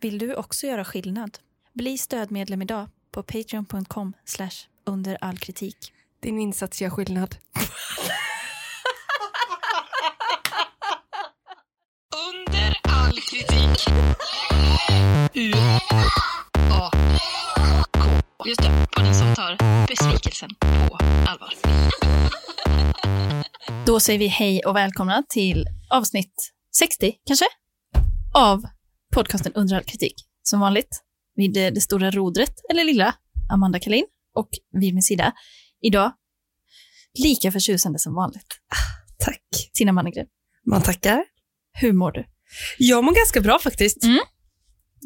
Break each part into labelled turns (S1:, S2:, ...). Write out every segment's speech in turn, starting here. S1: Vill du också göra skillnad? Bli stödmedlem idag på patreon.com under all kritik.
S2: Din insats gör skillnad.
S3: Under all kritik. U A K. Just det, podden som tar besvikelsen på allvar.
S1: Då säger vi hej och välkomna till avsnitt 60, kanske, av podcasten Under all kritik. Som vanligt vid det, det stora rodret, eller lilla, Amanda Kalin och vid min sida idag, lika förtjusande som vanligt,
S4: Tack.
S1: Tina Mannegren.
S4: Man tackar.
S1: Hur mår du?
S4: Jag mår ganska bra faktiskt.
S1: Mm.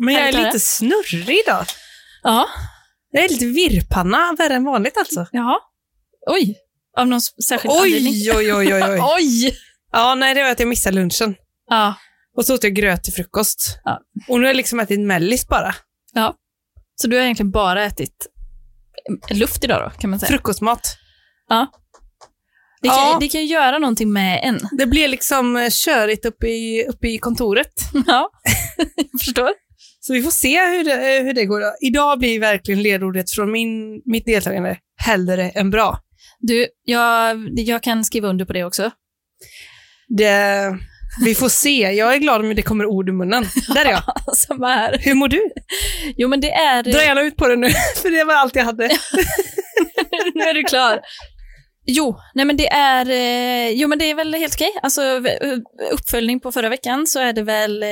S4: Men jag är
S1: Härligt att höra.
S4: lite snurrig idag.
S1: Ja,
S4: Jag är lite virrpanna, värre än vanligt alltså.
S1: ja. Oj, av någon s- särskild anledning?
S4: Oj, oj, oj, oj, oj.
S1: Oj!
S4: Ja, nej, det var att jag missade lunchen.
S1: Ja,
S4: Och så åt jag gröt till frukost.
S1: Ja.
S4: Och nu har jag liksom ätit mellis bara.
S1: så du har egentligen bara ätit eh, luft idag då, kan man säga.
S4: Frukostmat.
S1: Det kan,
S4: Ja.
S1: det kan ju göra någonting med en.
S4: Det blev liksom eh, körigt uppe i, uppe i kontoret.
S1: Ja, jag förstår.
S4: Så vi får se hur det, eh, hur det går. Idag blir verkligen ledordet från min, mitt deltagande hellre än bra.
S1: Du, jag, jag kan skriva under på det också.
S4: Det, vi får se. Jag är glad om det kommer ord ur munnen. Där är jag.
S1: Samma här.
S4: Hur mår du?
S1: Alltså, Jo, men det är...
S4: Dra gärna ut på det nu, för det var allt jag hade.
S1: nu är du klar. Jo, nej men det är, eh, jo, men det är väl helt okej. Alltså, v- uppföljning på förra veckan så är det väl eh,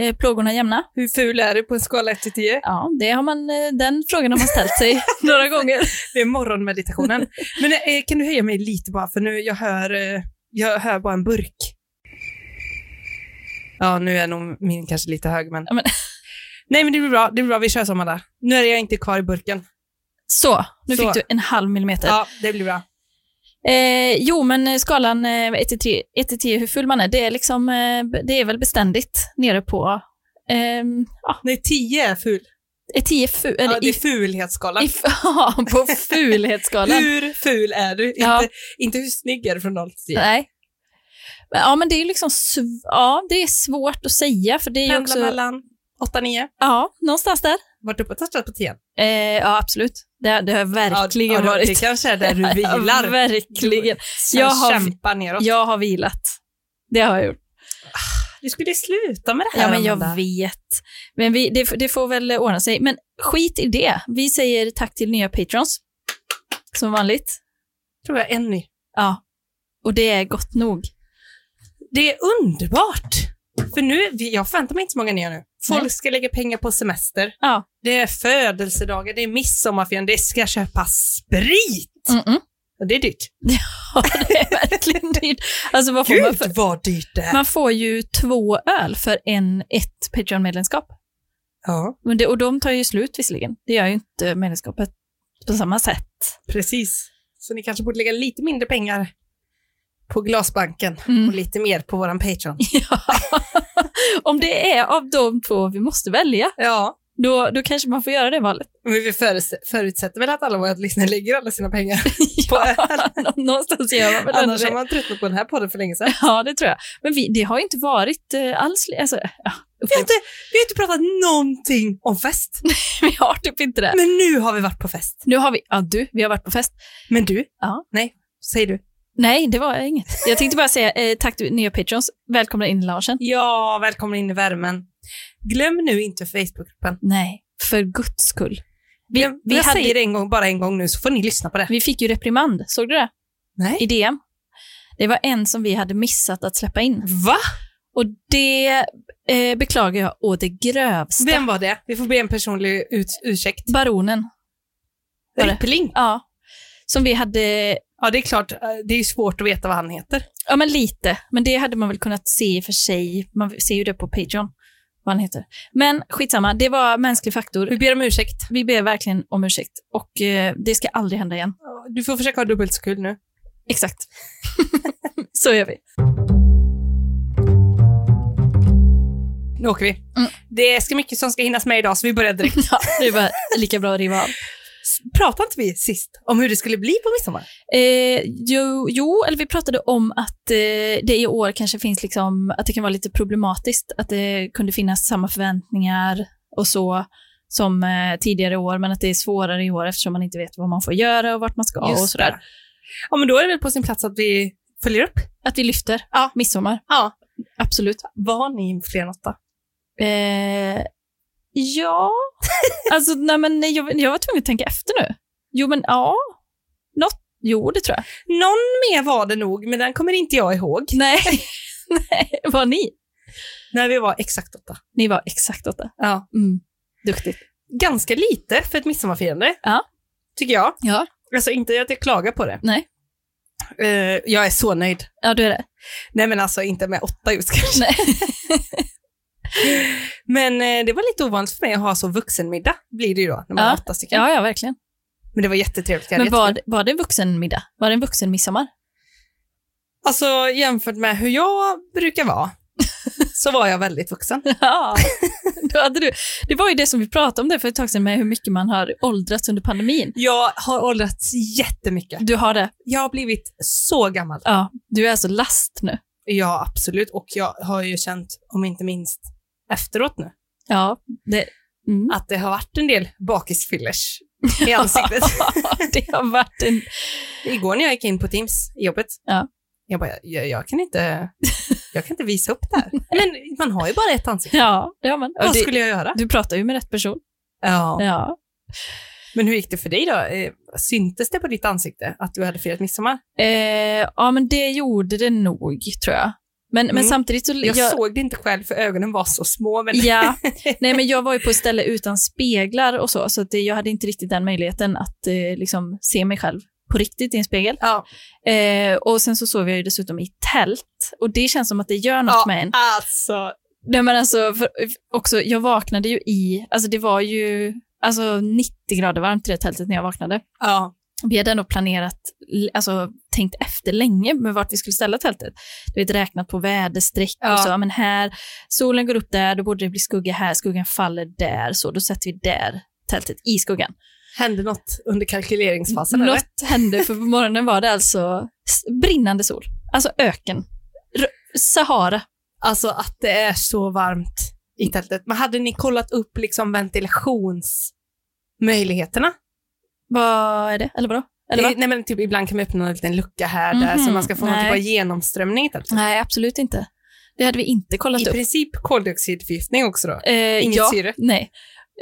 S1: eh, plågorna jämna.
S4: Hur ful är du på en skala 1 till 10?
S1: Ja, det har man, eh, den frågan har man ställt sig några gånger.
S4: Det är morgonmeditationen. Men eh, kan du höja mig lite bara, för nu jag hör, eh, jag hör bara en burk. Ja, nu är nog min kanske lite hög, men...
S1: Ja, men-
S4: Nej, men det blir bra. Det blir bra. Vi kör som alla. Nu är jag inte kvar i
S1: Typ.
S4: burken.
S1: Så, nu
S4: Så.
S1: fick du en halv millimeter.
S4: Ja, det blir bra.
S1: Eh, jo, men eh, skalan 1-10, hur full man är, det är, liksom, eh, b- det är väl beständigt nere på... ehm,
S4: Nej, 10 är ful.
S1: Är 10 ful? Eller
S4: Ja, det är
S1: i,
S4: fulhetsskalan.
S1: i, ja, på fulhetsskalan.
S4: Hur ful är du?
S1: Ja.
S4: Inte, inte hur snygg är du från 0 till 10?
S1: Nej. Men, ja, men det är ju liksom sv- ja, det är svårt att säga, för det är ju
S4: Pendla
S1: också...
S4: mellan 8-9.
S1: Ja, någonstans där.
S4: Vart uppe och touchat på 10?
S1: Eh, ja, absolut. Det, det har verkligen
S4: ja,
S1: varit.
S4: Det kanske är där du
S1: Ja,
S4: vilar.
S1: verkligen.
S4: Jag
S1: Jag har-
S4: kämpar neråt.
S1: Jag har vilat. Det har jag gjort.
S4: Du skulle sluta med det
S1: Ja,
S4: här,
S1: men jag
S4: Amanda.
S1: vet. Men vi, det, det får väl ordna sig. Men skit i det. Vi säger tack till nya patrons. Som vanligt.
S4: tror jag en ny.
S1: Ja. Och det är gott nog.
S4: Det är underbart! För nu, vi- jag förväntar mig inte så många nya nu. Folk
S1: Nej.
S4: ska lägga pengar på semester.
S1: Ja.
S4: Det är födelsedagar, det är midsommarfirande, det ska köpas sprit!
S1: Mm-mm.
S4: Och det är dyrt.
S1: Ja, det är verkligen dyrt. Alltså, vad får man för?
S4: Gud vad dyrt det är!
S1: Man får ju två öl för en, ett Patreon-medlemskap.
S4: Ja,
S1: Men det, och de tar ju slut visserligen. Det gör ju inte medlemskapet på samma sätt.
S4: precis. Så ni kanske borde lägga lite mindre pengar på Glasbanken och
S1: Mm.
S4: lite mer på våran Patreon.
S1: Ja. Om det är av de två vi måste välja,
S4: Ja,
S1: då, då kanske man får göra det valet.
S4: men vi förutse- förutsätter väl att alla våra lyssnare lägger alla sina pengar
S1: Ja, någonstans gör man väl ändå
S4: Annars har
S1: det.
S4: man tröttnat på den här podden för länge sedan.
S1: Ja, det tror jag. Men vi, det har ju inte varit eh, alls... li- Alltså, ja,
S4: Vi har inte, vi har inte pratat någonting om fest,
S1: vi har typ inte det.
S4: men nu har vi varit på fest.
S1: Nu har vi... Ja, du, vi har varit på fest.
S4: Men du?
S1: Ja.
S4: Nej, säg du.
S1: Nej, det var inget. Jag tänkte bara säga eh, tack till nya patrons. Välkomna in i loungen.
S4: Ja, välkommen in i värmen. Glöm nu inte Facebookgruppen.
S1: Nej, för guds skull. Vi,
S4: Vi,
S1: vi,
S4: jag
S1: hade,
S4: säger det en gång, bara en gång nu, så får ni lyssna på det.
S1: vi fick ju reprimand, såg du det?
S4: Nej.
S1: I DM. Det var en som vi hade missat att släppa in.
S4: Va?
S1: Och det eh, beklagar jag å det grövsta.
S4: Vem var det? Vi får be en personlig ut, ursäkt.
S1: Baronen. var det?
S4: Rippling?
S1: Ja. Som vi hade
S4: Ja, det är klart. eh, Det är svårt att veta vad han heter.
S1: Ja, men lite. Men det hade man väl kunnat se i och för sig. Man ser ju det på Patreon, vad han heter. Men skitsamma, det var mänsklig faktor.
S4: Vi ber om ursäkt.
S1: Vi ber verkligen om ursäkt och eh, det ska aldrig hända igen.
S4: Du får försöka ha dubbelt så kul nu.
S1: Exakt. Så gör vi.
S4: Nu åker
S1: Mm.
S4: vi. Det ska mycket som ska hinnas med idag, så vi börjar direkt.
S1: Ja, det var lika bra att riva av.
S4: Pratade inte vi sist om hur det skulle bli på midsommar?
S1: Eh, jo, jo, eller vi pratade om att eh, det i år kanske finns liksom, att det kan vara lite problematiskt, att det kunde finnas samma förväntningar och så som eh, tidigare år, men att det är svårare i år eftersom man inte vet vad man får göra och vart man ska och sådär.
S4: det. Ja, men då är det väl på sin plats att vi följer upp.
S1: Att vi lyfter
S4: Ja.
S1: midsommar.
S4: Ja.
S1: Absolut.
S4: Var ni fler än åtta?
S1: Eh, ja, alltså nej, men nej, jag, jag var tvungen att tänka efter nu. Jo, men ja, något, jo det tror jag.
S4: Någon mer var det nog, men den kommer inte jag ihåg.
S1: Nej, nej, var ni?
S4: När vi var exakt åtta.
S1: Ni var exakt åtta.
S4: Ja.
S1: Mm. Duktigt.
S4: Ganska lite för ett midsommarfirande.
S1: Ja.
S4: Tycker jag.
S1: Ja.
S4: Alltså inte att jag klagar på det.
S1: Nej.
S4: Eh, jag är så nöjd.
S1: Ja, du är det.
S4: Nej men alltså inte med åtta just kanske.
S1: Nej.
S4: Men eh, det var lite ovanligt för mig att ha så vuxenmiddag, blir det ju då, när man
S1: Ja.
S4: är åtta stycken.
S1: Ja, ja, verkligen.
S4: Men det var jättetrevligt. Jag hade
S1: Men var, det- var det en vuxenmiddag? Var det en vuxenmidsommar?
S4: Alltså jämfört med hur jag brukar vara, så var jag väldigt vuxen.
S1: Ja. Då hade du, det var ju det som vi pratade om där för ett tag sedan med hur mycket man har åldrats under pandemin.
S4: Jag har åldrats jättemycket.
S1: Du har det.
S4: Jag har blivit så gammal.
S1: Ja, du är alltså last nu.
S4: Ja, absolut. Och jag har ju känt, om inte minst efteråt nu,
S1: Ja, det, mm.
S4: att det har varit en del bakisfillers i ansiktet.
S1: det har varit en...
S4: Igår när jag gick in på Teams i jobbet,
S1: Ja.
S4: jag bara, jag, jag, kan inte, jag kan inte visa upp det här. Men man har ju bara ett ansikte.
S1: Ja, det har man. Och
S4: Vad
S1: det,
S4: skulle jag göra?
S1: du pratar ju med rätt person.
S4: Ja.
S1: Ja.
S4: Men hur gick det för dig då? Eh, Syntes det på ditt ansikte att du hade firat midsommar?
S1: Eh, ja, men det gjorde det nog, tror jag. Men, men
S4: Mm.
S1: samtidigt så...
S4: Jag, såg det inte själv för ögonen var så små. Men...
S1: Ja, nej men jag var ju på ett ställe utan speglar och så, så att det, jag hade inte riktigt den möjligheten att eh, liksom se mig själv på riktigt i en spegel.
S4: Ja.
S1: Eh, och sen så sov jag ju dessutom i tält och det känns som att det gör något
S4: Ja.
S1: med en.
S4: Alltså,
S1: Nej men alltså, för, också, jag vaknade ju i, alltså det var ju alltså 90 grader varmt i det tältet när jag vaknade.
S4: ja.
S1: Vi hade ändå planerat, alltså tänkt efter länge med vart vi skulle ställa tältet. Du vet, räknat på väderstreck
S4: Ja.
S1: och så, ja, men här, solen går upp där, då borde det bli skugga här, skuggan faller där, så då sätter vi där tältet i skuggan.
S4: Hände något under kalkyleringsfasen? eller?
S1: Något hände, för på morgonen var det alltså s- brinnande sol, alltså öken, R- Sahara.
S4: Alltså att det är så varmt i tältet. Men hade ni kollat upp liksom ventilationsmöjligheterna?
S1: Vad är det? Eller vadå? Eller
S4: Eh,
S1: vad?
S4: Nej, men typ, ibland kan man öppna en liten lucka här där
S1: Mhm,
S4: så man ska få någon
S1: nej.
S4: typ av genomströmning i tältet.
S1: Nej, absolut inte. Det hade vi inte kollat
S4: I
S1: upp.
S4: princip koldioxidförgiftning också då.
S1: Eh,
S4: Inget
S1: ja,
S4: syre.
S1: Nej.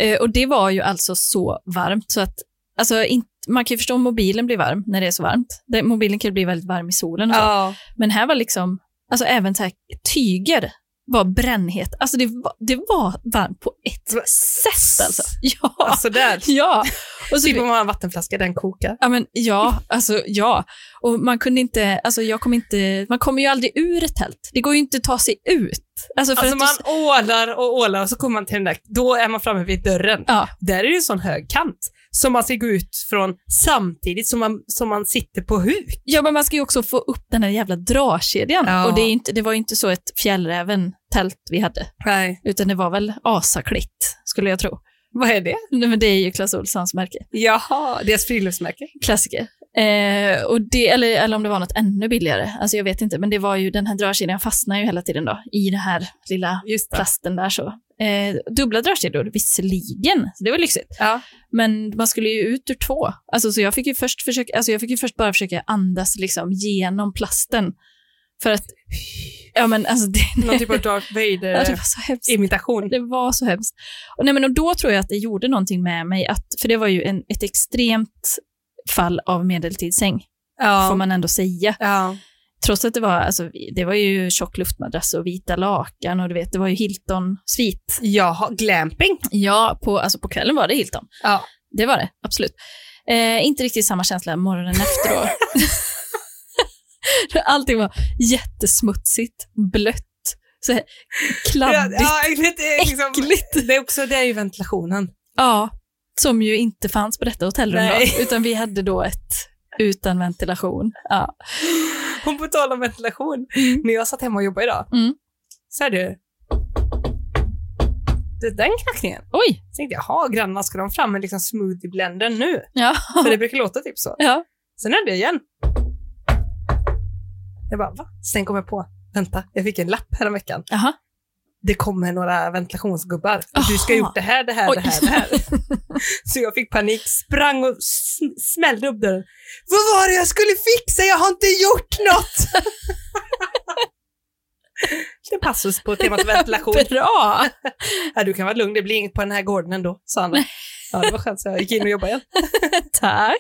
S1: Eh, och det var ju alltså så varmt så att alltså, in, man kan ju förstå om mobilen blir varm när det är så varmt. Det, mobilen kan ju bli väldigt varm i solen och så.
S4: Ja.
S1: Men här var liksom, alltså även så här, tyger var brännhet. Alltså det, var- det var varmt på ett
S4: Va-
S1: sätt alltså. Ja,
S4: Alltså där.
S1: ja. Och så,
S4: Typ om man har en vattenflaska, den kokar.
S1: ja, men, ja, alltså ja. Och man kunde inte, alltså jag kom inte, man kommer ju aldrig ur ett tält. Det går ju inte att ta sig ut. Alltså för
S4: Alltså
S1: att
S4: man
S1: du,
S4: ålar och ålar och så kommer man till den där, då är man framme vid dörren.
S1: ja,
S4: Där är det en sån hög kant som man ska gå ut från samtidigt som man, som man sitter på huk.
S1: Ja, men man ska ju också få upp den här jävla dragkedjan.
S4: Ja.
S1: Och det, är inte, det var ju inte så ett fjällräven-tält vi hade,
S4: Nej.
S1: utan det var väl asaklitt, skulle jag tro.
S4: Vad är det?
S1: Nej, men det är ju Clas Ohlsons märke,
S4: Jaha, deras friluftsmärke.
S1: klassiker. Eh, och det, eller, eller om det var något ännu billigare, alltså jag vet inte, men det var ju den här dragkedjan fastnar ju hela tiden då, i den här lilla
S4: Just det.
S1: plasten där så. Eh, dubbla dragkedjor, visserligen, så det var lyxigt.
S4: Ja.
S1: Men man skulle ju ut ur två. Alltså, så jag fick ju först, försöka, alltså, jag fick ju först bara försöka andas liksom, genom plasten. För att, ja men alltså det,
S4: Någon typ av Darth
S1: ja, det
S4: Vader
S1: var så hemskt.
S4: imitation.
S1: Det var så hemskt. Och, nej, men, och då tror jag att det gjorde någonting med mig, att, för det var ju en, ett extremt fall av medeltidssäng, får
S4: Ja.
S1: man ändå säga.
S4: ja.
S1: Trots att det var, alltså, det var ju tjock luftmadrass och vita lakan och du vet, det var ju Hilton-svit.
S4: Jaha, glamping.
S1: Ja, på, alltså, på kvällen var det Hilton.
S4: Ja.
S1: Det var det, absolut. Eh, inte riktigt samma känsla morgonen efter då. Allting var jättesmutsigt, blött, så här,
S4: Ja,
S1: kladdigt,
S4: ja, det, är liksom,
S1: äckligt.
S4: det, är också, det är ju ventilationen.
S1: Ja, som ju inte fanns på detta hotellrum
S4: Nej.
S1: då, utan vi hade då ett utan ventilation. Ja.
S4: Hon på tal om Mm. ventilation, när jag satt hemma och jobbade idag,
S1: Mm.
S4: så är det det- den knackningen.
S1: Oj!
S4: Så tänkte jag, jaha, grannarna, ska de fram med liksom smoothieblendern nu?
S1: Ja.
S4: För det brukar låta typ så.
S1: ja.
S4: Sen är det igen. Jag bara, va? Sen kom jag på, vänta, jag fick en lapp häromveckan.
S1: Jaha.
S4: Det kommer några ventilationsgubbar. Du ska ha
S1: Aha.
S4: gjort det här, det här,
S1: Oj.
S4: det här, det här. Så jag fick panik, sprang och sm- smällde upp dörren. Vad var det jag skulle fixa? Jag har inte gjort något! Lite passus på temat ventilation.
S1: Bra!
S4: Ja, du kan vara lugn, det blir inget på den här gården ändå, sa han. Ja, det var skönt, så jag gick in och jobbade igen.
S1: Tack.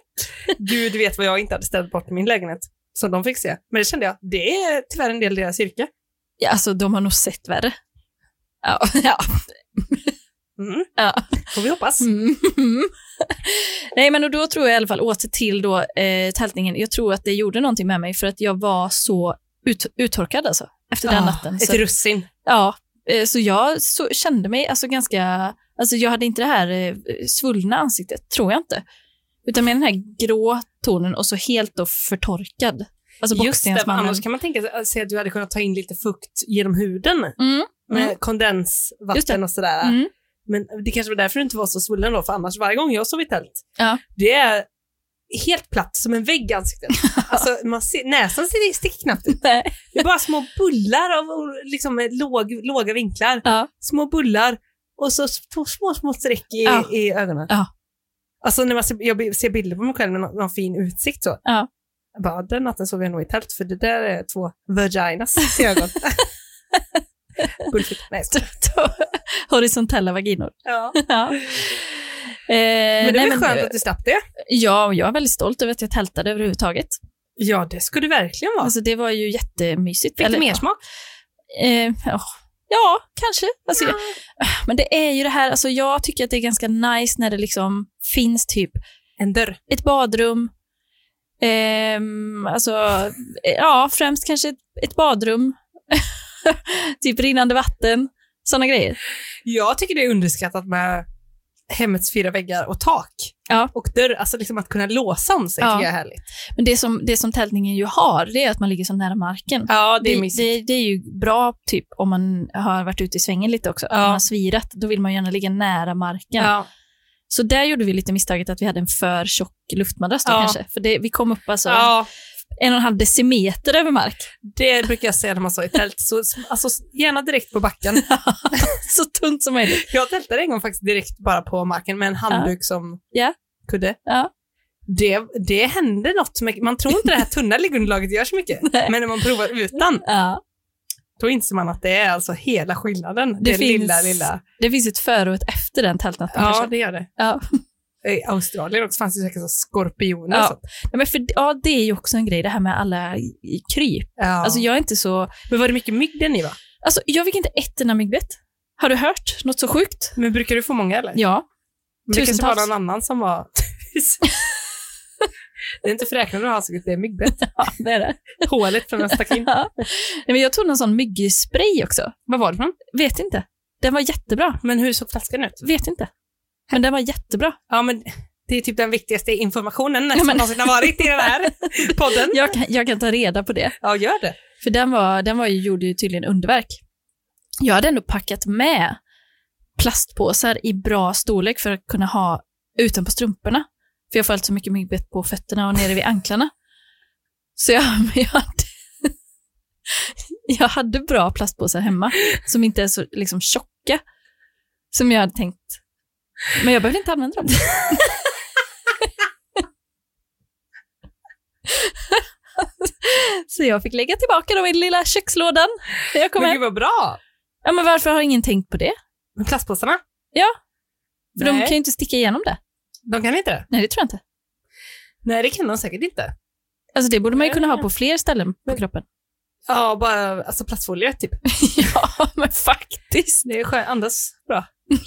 S4: Gud vet vad jag inte hade ställt bort i min lägenhet. Som de fick se. Men det kände jag, det är tyvärr en del i deras yrke.
S1: Ja, alltså, de har nog sett värre. Ja. ja.
S4: Mm.
S1: Ja.
S4: Får vi hoppas.
S1: Mm. Nej, men och då tror jag i alla fall åter till då, eh, tältningen. Jag tror att det gjorde någonting med mig för att jag var så ut, uttorkad alltså, efter den
S4: Ah,
S1: natten.
S4: Ett
S1: Så,
S4: russin.
S1: ja, eh, så jag så, kände mig alltså ganska... Alltså jag hade inte det här eh, svullna ansiktet, tror jag inte. Utan med den här grå tonen och så helt då förtorkad. Alltså
S4: Just det, för
S1: bockstensmannen.
S4: annars kan man tänka sig- sig att du hade kunnat ta in lite fukt genom huden.
S1: Mm,
S4: Med
S1: Mm. Just
S4: kondensvatten
S1: det.
S4: och sådär.
S1: mm.
S4: Men det kanske var därför du inte var så svullen då, för annars varje gång jag sov i tält,
S1: Ja.
S4: det är helt platt som en vägg i ansiktet. alltså, man ser, näsan ser sticker knappt ut.
S1: Nej.
S4: Det är bara små bullar av liksom, låg, låga vinklar.
S1: Ja.
S4: Små bullar och så små, små, små streck i,
S1: Ja.
S4: i ögonen.
S1: Ja.
S4: Alltså när man ser, jag ser bilder på mig själv med någon, någon fin utsikt så.
S1: Ja.
S4: Jag bara, den natten sov jag nog i tält för det där är två vaginas i ögon. Bullshit. Nej, jag skojar.
S1: Horisontella vaginor.
S4: ja.
S1: ja. Eh,
S4: Eh, Men det
S1: nej,
S4: är väl skönt att du slapp det?
S1: Ja, och jag är väldigt stolt över att jag tältade överhuvudtaget.
S4: Ja, det skulle det verkligen vara.
S1: Alltså det var ju jättemysigt.
S4: Fick
S1: Eller,
S4: du mer smak?
S1: ja, eh, ja. ja, kanske. Alltså, jag- Men det är ju det här, alltså jag tycker att det är ganska nice när det liksom finns typ
S4: En dörr.
S1: ett badrum, ehm, alltså, eh, ja, främst kanske ett, ett badrum, typ rinnande vatten, sådana grejer.
S4: Jag tycker det är underskattat med hemmets fyra väggar och tak.
S1: Ja.
S4: Och dörr, alltså liksom att kunna låsa om sig
S1: Ja.
S4: tycker jag är härligt.
S1: Men det som, det som tältningen ju har, det är att man ligger så nära marken.
S4: Ja, det är
S1: Det,
S4: mysigt.
S1: det, det är ju bra typ om man har varit ute i svängen lite också. Om man har svirat, då vill man gärna ligga nära marken.
S4: Ja.
S1: Så där gjorde vi lite misstaget att vi hade en för tjock luftmadrass då
S4: Ja.
S1: kanske. För det, vi kom upp alltså
S4: ja,
S1: en och en halv decimeter över mark.
S4: det brukar jag säga när man sover i tält. Så, alltså, gärna direkt på backen.
S1: Så tunt som möjligt.
S4: Jag tältade en gång faktiskt direkt bara på marken med en handduk som
S1: Ja.
S4: kudde.
S1: Ja.
S4: Det, det hände något. Med, man tror inte det här tunna liggunderlaget gör så mycket.
S1: Nej.
S4: Men när man provar utan,
S1: Ja.
S4: då inser man att det är alltså hela skillnaden. Det,
S1: Det finns-
S4: lilla, lilla.
S1: Det finns ett före och ett efter den tältnatten
S4: Ja,
S1: kanske.
S4: det gör det.
S1: Ja.
S4: I Australien också fanns det säkert så skorpioner
S1: Ja.
S4: och sånt.
S1: Ja, men för, ja, det är ju också en grej, det här med alla i- kryp.
S4: Ja.
S1: Alltså jag är inte så...
S4: Men var det mycket mygg där ni var?
S1: Alltså jag fick inte ett enda myggbett. Har du hört något så sjukt?
S4: Men brukar du få många eller?
S1: Ja.
S4: Men det kanske var
S1: tusentals.
S4: någon annan som var... det är inte fräknar du har ansökt, det är myggbett.
S1: ja, det är det.
S4: Hålet från en stack in.
S1: Ja. Nej, men jag tog någon sån myggspray också.
S4: Vad var det för någon?
S1: Vet inte. Den var jättebra.
S4: Men hur såg flaskan ut?
S1: Vet inte. Men den var jättebra.
S4: Ja, men det är typ den viktigaste informationen
S1: Ja,
S4: som
S1: men-
S4: någonsin har varit i den här podden.
S1: Jag kan, jag kan ta reda på det.
S4: Ja, gör det.
S1: För den, var, den var ju, gjorde ju tydligen underverk. Jag hade ändå packat med plastpåsar i bra storlek för att kunna ha utanpå strumporna. För jag får alltid så mycket myggbett på fötterna och nere vid anklarna. Så jag, jag, hade, jag hade bra plastpåsar hemma som inte är så liksom, tjocka som jag hade tänkt. Men jag behövde inte använda dem. Så jag fick lägga tillbaka dem i lilla kökslådan när jag kom
S4: men
S1: hem.
S4: gud vad bra!
S1: Ja, men varför har ingen tänkt på det?
S4: Men plastpåsarna?
S1: Ja. För de
S4: Nej,
S1: kan ju inte sticka igenom det.
S4: de kan inte det.
S1: Nej, det tror jag inte.
S4: Nej, det kan de säkert inte.
S1: Alltså det borde man ju kunna ha på fler ställen på
S4: Men-
S1: kroppen.
S4: Ja, bara alltså plastfolie typ.
S1: Ja, men faktiskt.
S4: Det är skönt. Andas bra.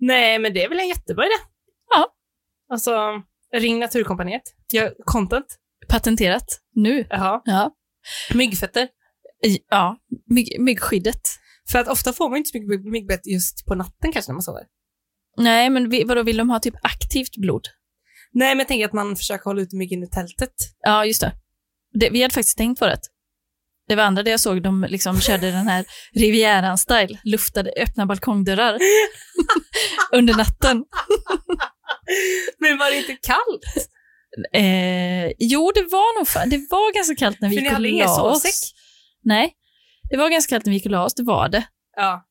S4: Nej, men det är väl en jättebra idé.
S1: Ja.
S4: Alltså, ring Naturkompaniet. Gör content.
S1: Patenterat. Nu.
S4: Jaha.
S1: Ja.
S4: Myggfetter.
S1: I- Ja, mygg, myggskyddet.
S4: För att ofta får man ju inte så mycket mygg- myggbett just på natten kanske när man sover.
S1: Nej, men vi, vadå, vill de ha typ aktivt blod?
S4: Nej, men jag tänker att man försöker hålla ut myggen i tältet.
S1: Ja, just det. det vi hade faktiskt tänkt på det. Det var andra där jag såg, de liksom körde den här Rivieran-style, luftade öppna balkongdörrar under natten.
S4: Men var det inte kallt?
S1: Eh, jo, det var nog fa- det var ganska kallt när vi
S4: För ni
S1: gick och
S4: hade ingen
S1: la oss.
S4: sovsäck?
S1: Nej, det var ganska kallt när vi gick och la oss, det var det.
S4: Ja,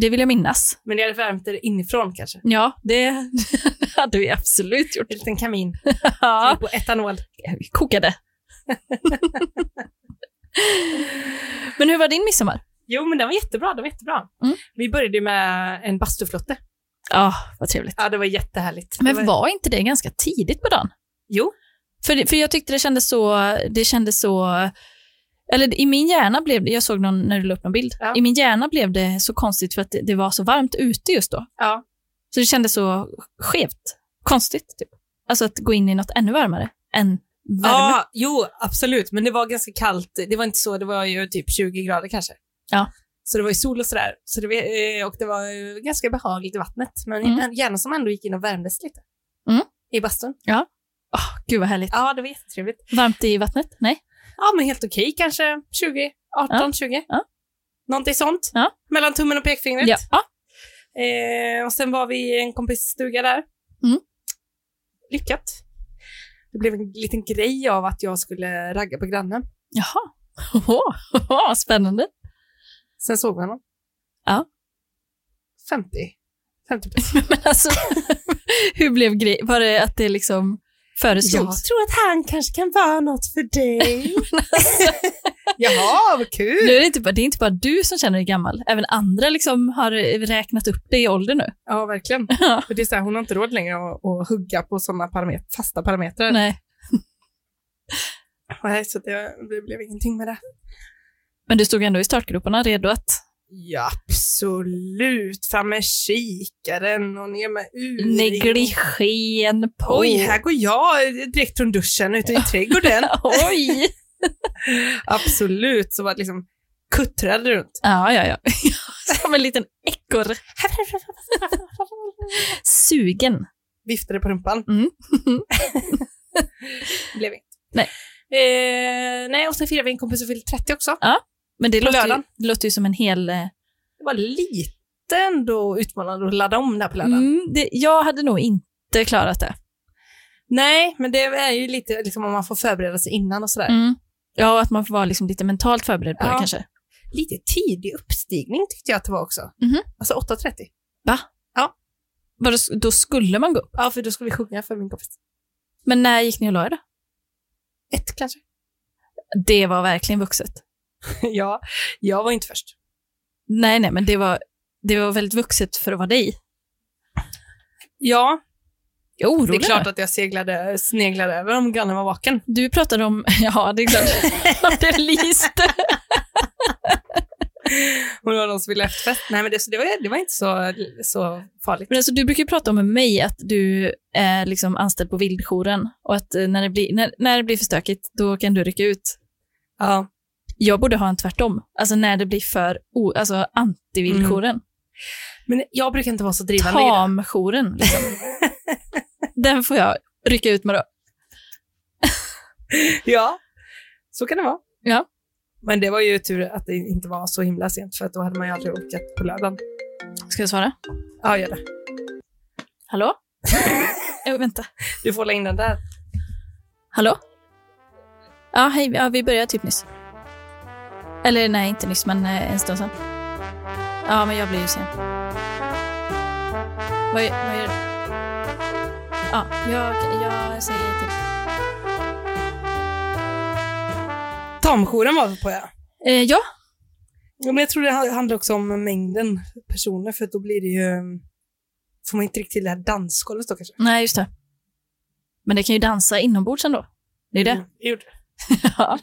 S1: Det vill jag minnas.
S4: men ni hade värmt er inifrån kanske?
S1: Ja, det hade vi absolut gjort.
S4: En liten kamin
S1: Ja.
S4: på etanol.
S1: Vi kokade. Men hur var din midsommar?
S4: Jo, men den var jättebra. Den var jättebra.
S1: Mm.
S4: Vi började ju med en bastuflotte.
S1: Ja, vad trevligt.
S4: Ja, det var jättehärligt. det
S1: Men var inte det ganska tidigt på dagen?
S4: Jo,
S1: För, det- för jag tyckte det kändes så, det kändes så, eller i min hjärna blev det, jag såg någon när du la upp någon bild,
S4: Ja.
S1: i min hjärna blev det så konstigt för att det, det var så varmt ute just då.
S4: Ja.
S1: Så det kändes så skevt, konstigt. Typ. Alltså att gå in i något ännu varmare än värme.
S4: Ja, jo, absolut. Men det var ganska kallt. Det var inte så, det var ju typ 20 grader kanske.
S1: Ja.
S4: Så det var ju sol och sådär. Så det, var- eh, och det var ju ganska behagligt i vattnet. Men
S1: Mm.
S4: gärna som ändå gick in och värmdes lite.
S1: Mm.
S4: I bastun.
S1: Åh, gud vad härligt.
S4: Ja, det var jättetrevligt.
S1: Varmt i vattnet? Nej?
S4: Ja, men helt okej kanske. 20, 18, 20.
S1: Ja.
S4: Någonting sånt.
S1: Ja.
S4: Mellan tummen och pekfingret.
S1: Ja. ja.
S4: Eh, och sen var vi i en kompis stuga där.
S1: Mm.
S4: Lyckat. Det blev en liten grej av att jag skulle ragga på grannen.
S1: Jaha. Ohoho, spännande.
S4: Sen såg vi honom.
S1: Ja.
S4: 50. 50 plus.
S1: Men alltså, hur blev grejen? Var det att det liksom föreslogs?
S4: tror att han kanske kan vara något för dig. Jaha, vad
S1: Nu
S4: kul!
S1: är det, inte bara, det är inte bara du som känner dig gammal, även andra liksom har räknat upp dig i ålder nu.
S4: Ja, verkligen. För det är så här, hon har inte råd längre att, att hugga på sådana paramet- fasta parametrar.
S1: Nej.
S4: Nej, så det, det blev ingenting med det.
S1: Men du stod ändå i startgroparna redo att...
S4: Ja, absolut. Fram med kikaren och ner med urringen.
S1: Negligen på.
S4: Mm. Oj, här går jag direkt från duschen ut i trädgården.
S1: Oj!
S4: absolut, så var det liksom kuttrade runt.
S1: Ja, ja, ja. Som en liten ekorre. Sugen.
S4: viftade på rumpan.
S1: Mm.
S4: Blev inte.
S1: Nej.
S4: Eh, nej, och sen firade vi en kompis som fyllde 30 också.
S1: Men det
S4: På
S1: låter, ju,
S4: lördagen.
S1: det låter ju som en hel... eh,
S4: Det var lite ändå utmanande att ladda om där på lördagen.
S1: Mm, det, jag hade nog inte klarat det.
S4: Nej, men det är ju lite liksom om man får förbereda sig innan och sådär.
S1: Mm. Ja, och att man får vara liksom lite mentalt förberedd på det
S4: Ja.
S1: kanske.
S4: Lite tidig uppstigning tyckte jag att det var också.
S1: Mhm.
S4: Alltså 8.30.
S1: Bara, s- då skulle man gå upp.
S4: Ja, för då skulle vi sjunga för min kompis.
S1: Men när gick ni och la er då?
S4: Ett kanske.
S1: Det var verkligen vuxet.
S4: ja, jag var inte först.
S1: Nej, nej, men det var, det var väldigt vuxet för att vara dig.
S4: Ja,
S1: Jag är
S4: det
S1: orolig
S4: är klart
S1: nu.
S4: att jag seglade, sneglade över om grannen var vaken.
S1: Du pratade om... Ja, det är klart. Om det lyste.
S4: Och det var någon som ville ha efterfest. Nej, men det, så det, var, det var inte så, så farligt.
S1: Men alltså, du brukar ju prata om med mig att du är liksom anställd på vildjouren och att eh, när det, blir, när, när det blir för stökigt, då kan du rycka ut.
S4: Ja.
S1: Jag borde ha en tvärtom. Alltså när det blir för o, alltså, anti-vildjouren.
S4: Men jag brukar inte vara så drivande i det.
S1: Tamjouren. Liksom. Den får jag rycka ut med då.
S4: Ja, så kan det vara.
S1: Ja.
S4: Men det var ju tur att det inte var så himla sent, för att då hade man ju aldrig orkat på lördagen.
S1: Ska jag svara?
S4: Ja, gör det.
S1: Hallå? oh, vänta.
S4: Du får hålla in den där.
S1: Hallå? Ja, hej. Ja, vi började typ nyss. Eller nej, inte nyss, men eh, en stund sedan. Ja, men jag blir ju sen. Vad, gör- vad gör du? Ja, jag, jag säger till.
S4: Tamjouren var vi på, ja.
S1: Eh, ja,
S4: Ja, Men jag tror det handlar också om mängden personer, för då blir det ju... mm, Får man inte riktigt till det här dansgolvet då kanske?
S1: nej just det. Men det kan ju dansa inombords ändå. Det är det.
S4: Mm, det gjorde
S1: Ja,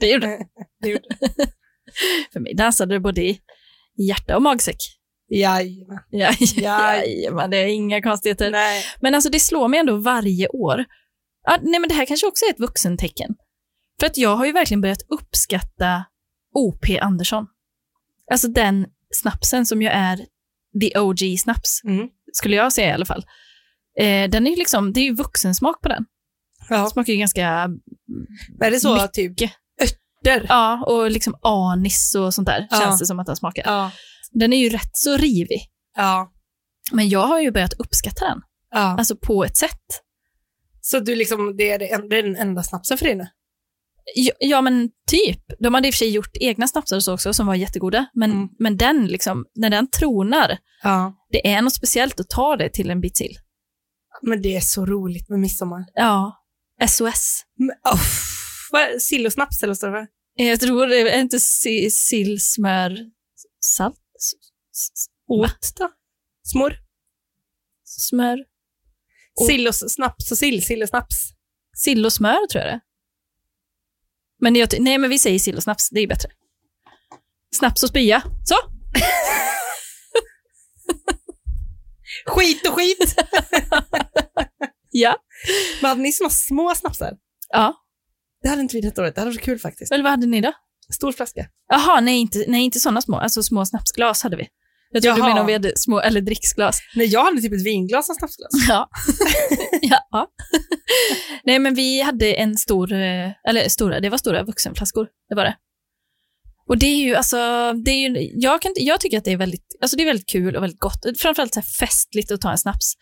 S1: det gjorde det.
S4: det. Gjorde. det.
S1: För mig dansade det både i hjärta och magsäck.
S4: Jajamän.
S1: Ja,
S4: Ja.
S1: jajamän, det är inga konstigheter.
S4: Nej.
S1: Men alltså det slår mig ändå varje år. Ja, nej, men det här kanske också är ett vuxentecken. För att jag har ju verkligen börjat uppskatta O.P. Andersson. Alltså den snapsen som ju är the OG-snaps,
S4: Mm.
S1: skulle jag säga i alla fall. Eh, den är ju liksom, det är ju vuxensmak på den.
S4: Ja.
S1: Smakar ju ganska...
S4: Men är det så
S1: Mycket.
S4: typ örter.
S1: Ja, och liksom anis och sånt där
S4: Ja.
S1: känns det som att den smakar.
S4: Ja.
S1: Den är ju rätt så rivig,
S4: ja.
S1: men jag har ju börjat uppskatta den.
S4: ja.
S1: Alltså på ett sätt.
S4: Så du liksom, det är, det en- det är den enda snapsen för dig nu?
S1: Ja, ja, men typ. De hade i och för sig gjort egna snapsar och så också som var jättegoda, men,
S4: Mm.
S1: men den liksom, när den tronar,
S4: Ja.
S1: det är något speciellt att ta det till en bit sill.
S4: Men det är så roligt med midsommar.
S1: Ja, SOS.
S4: Men, uff, vad, sill och snaps eller vad står det för?
S1: Jag tror det är inte si- sill, smör, salt, s- s-
S4: Åt då? Smör?
S1: smör, Och-
S4: Sill och s- snaps och sill, sill och snaps.
S1: sill och smör tror jag det är. Men jag, ty- nej, men vi säger sill och snaps, det är bättre. Snaps och spya. Så!
S4: Skit och skit!
S1: Ja.
S4: Men hade ni såna små snapsar?
S1: Ja.
S4: Det hade inte vi detta året, det hade varit kul faktiskt.
S1: Eller vad hade ni då?
S4: Stor flaska.
S1: Jaha, nej inte, nej, inte sådana små. Alltså små snapsglas hade vi. Jag tror du
S4: Jaha.
S1: menar om vi hade små, eller dricksglas.
S4: Nej, jag hade typ ett vinglas som snapsglas.
S1: Ja. ja. nej, men vi hade en stor, eh, eller stora, det var stora vuxenflaskor. Det var det. Och det är ju, alltså, det är ju, jag, kan, inte- jag tycker att det är väldigt, alltså det är väldigt kul och väldigt gott. Framförallt så här festligt att ta en snaps.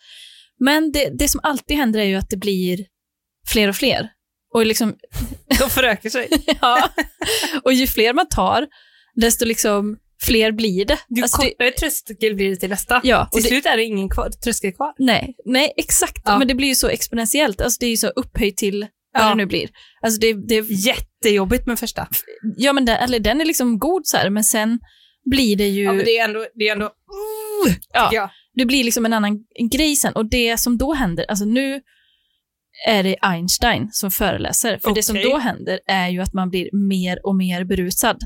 S1: Men det, det som alltid händer är ju att det blir fler och fler. Och liksom
S4: De förökar sig.
S1: Ja. Och ju fler man tar, desto liksom fler blir det.
S4: Ju
S1: Alltså, det-
S4: kortare tröskel blir det till nästa.
S1: ja, och
S4: Till
S1: det
S4: slut är det ingen kvar, tröskel kvar.
S1: nej, nej, exakt.
S4: Ja.
S1: Men det blir ju så exponentiellt. Alltså, det är ju så upphöjt till vad
S4: Ja.
S1: det nu blir. Alltså, det, det,
S4: Jättejobbigt med första.
S1: ja, men den, eller den är liksom god så här, men sen blir det ju...
S4: Ja, men
S1: det...
S4: det är ändå, det är ändå
S1: Ja.
S4: ja. jag.
S1: blir liksom en annan grej sen. Och det som då händer, alltså nu är det Einstein som föreläser. För det som
S4: Okej.
S1: då händer är ju att man blir mer och mer berusad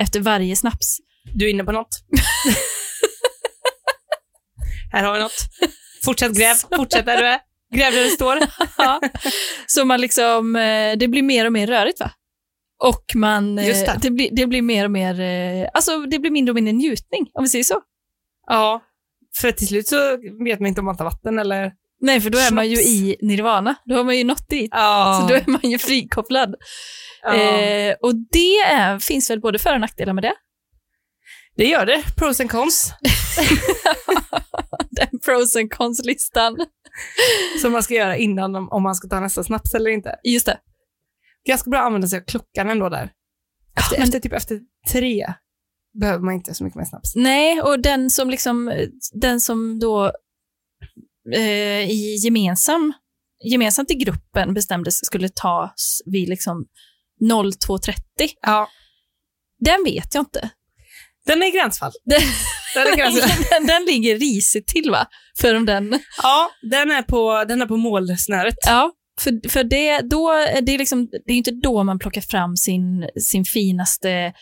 S1: efter varje snaps.
S4: Du är inne på något. Här har vi något. Fortsätt gräv, fortsätt där du är. Gräv där du står.
S1: Ja. Så man liksom, eh, det blir mer och mer rörigt va? Och man, eh,
S4: Just det.
S1: det, blir, det blir mer och mer, eh, alltså det blir mindre och mindre njutning om vi säger så.
S4: Ja, för till slut så vet man inte om man tar vatten eller...
S1: Nej, för då är man ju
S4: Snaps.
S1: i nirvana, då har man ju nått dit.
S4: Ja.
S1: Så då är man ju frikopplad. Eh, och det är, finns väl både för och nackdelar med det.
S4: Det gör det. Pros and cons.
S1: Den pros and cons-listan.
S4: Som man ska göra innan om, om man ska ta nästa snaps eller inte.
S1: Just det.
S4: Ganska bra att använda sig av klockan ändå där. Efter,
S1: men-
S4: efter, typ efter tre behöver man inte så mycket mer snaps.
S1: Nej, och den som liksom, den som då eh, i gemensam, gemensamt i gruppen bestämdes skulle tas vid liksom 02.30,
S4: Ja.
S1: den vet jag inte.
S4: Den är gränsfall.
S1: Den-
S4: Den är gränsfall.
S1: den, den ligger risigt till va? För om den,
S4: ja, den är på, den är på målsnöret.
S1: ja, för, för det, då, är det, är liksom, det är inte då man plockar fram sin, sin finaste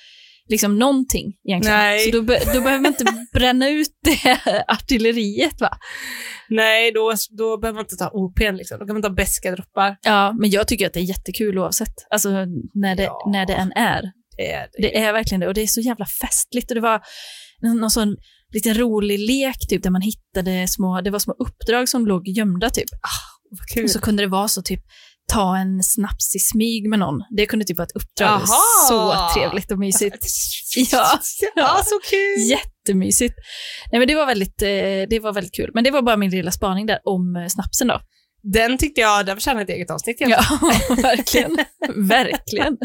S1: liksom någonting egentligen.
S4: Nej.
S1: Så då, be, då behöver man inte bränna ut det artilleriet va?
S4: Nej, då, då behöver man inte ta OP'n. Liksom. Då kan man ta beska droppar.
S1: Ja, men jag tycker att det är jättekul oavsett. Alltså när det,
S4: Ja.
S1: när det än är.
S4: Det är det.
S1: Det är verkligen det och det är så jävla festligt och det var någon sån liten rolig lek typ där man hittade små, det var små uppdrag som låg gömda typ.
S4: Ah, Vad kul.
S1: Och så kunde det vara så typ ta en snaps i smyg med någon. Det kunde typ vara ett uppdrag.
S4: Jaha.
S1: Så trevligt och mysigt. Ja.
S4: ja, så kul.
S1: Jättemysigt. Nej men det var väldigt, eh, det var väldigt kul. Men det var bara min lilla spaning där om eh, snapsen då.
S4: Den tyckte jag, den förtjänar ett eget avsnitt. egentligen.
S1: Ja, verkligen. verkligen.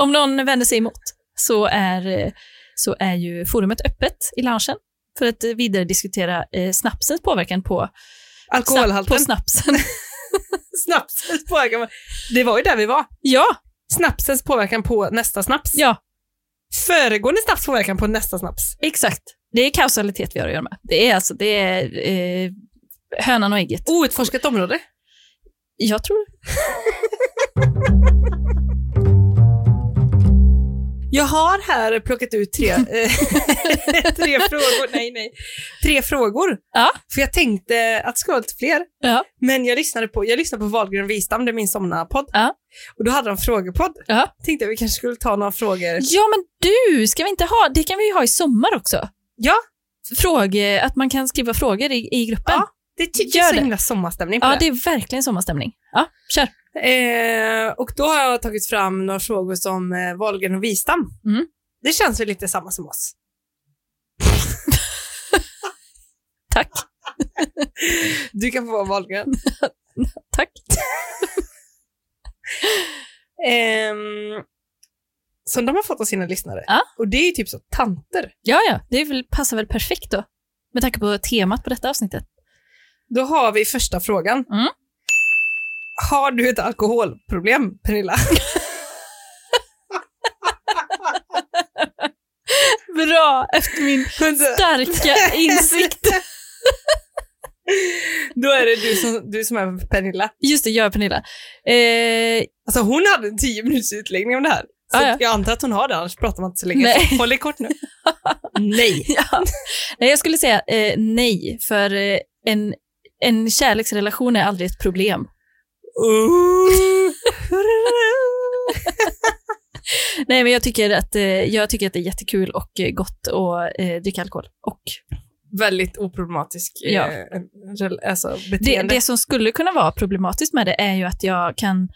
S1: Om någon vänder sig emot så är, eh, så är ju forumet öppet i loungen för att eh, vidare diskutera eh, snapsens påverkan på, snap, på
S4: Alkoholhalten.
S1: snapsen.
S4: Snapsens påverkan. Det var ju där vi var.
S1: ja,
S4: Snapsens påverkan på nästa snaps.
S1: ja,
S4: Föregående snaps påverkan på nästa snaps.
S1: exakt. Det är kausalitet vi har att göra med. Det är alltså, det är eh, hönan och ägget.
S4: Outforskat område.
S1: Jag tror
S4: Jag har här plockat ut tre, eh, tre frågor. Nej, nej. Tre frågor.
S1: Ja.
S4: För jag tänkte att det skulle vara lite fler.
S1: Ja.
S4: Men jag lyssnade på, jag lyssnade på Wahlgren Wistam, det är min somna-podd.
S1: Ja.
S4: Och då hade de frågepodd.
S1: Ja.
S4: Tänkte att vi kanske skulle ta några frågor.
S1: Ja, men du, ska vi inte ha, det kan vi ju ha i sommar också.
S4: Ja.
S1: Fråge, att man kan skriva frågor i, i gruppen.
S4: Ja, Det tycker
S1: Gör
S4: jag är så
S1: det.
S4: himla sommarstämning på
S1: Ja,
S4: det.
S1: det är verkligen sommarstämning. Ja, kör.
S4: Eh, och då har jag tagit fram några frågor som eh, Wahlgren och Wistam.
S1: Mm.
S4: Det känns ju lite samma som oss.
S1: Tack.
S4: Du kan få vara Wahlgren.
S1: Tack.
S4: Ehm, som de har fått av sina lyssnare.
S1: Ja.
S4: Och det är ju typ så tanter.
S1: Ja, ja, det är väl, passar väl perfekt då. Med tanke på temat på detta avsnittet.
S4: Då har vi första frågan.
S1: Mm.
S4: Har du ett alkoholproblem, Pernilla?
S1: Bra! Efter min starka insikt.
S4: Då är det du som, du som är Pernilla.
S1: Just det, gör Pernilla. Eh,
S4: Alltså hon hade en tio minuters utläggning om det här. Så
S1: Ah, ja.
S4: att jag antar att hon har det, annars pratar man inte så länge.
S1: Nej.
S4: Så håll det kort nu. Nej.
S1: ja. Nej, jag skulle säga eh, nej, för eh, en, en kärleksrelation är aldrig ett problem.
S4: Ooh.
S1: Nej, men jag tycker att, eh, jag tycker att det är jättekul och eh, gott att eh, dricka alkohol. Och
S4: Väldigt oproblematisk eh,
S1: Ja.
S4: rel- alltså,
S1: det,
S4: beteende.
S1: det som skulle kunna vara problematiskt med det är ju att jag kan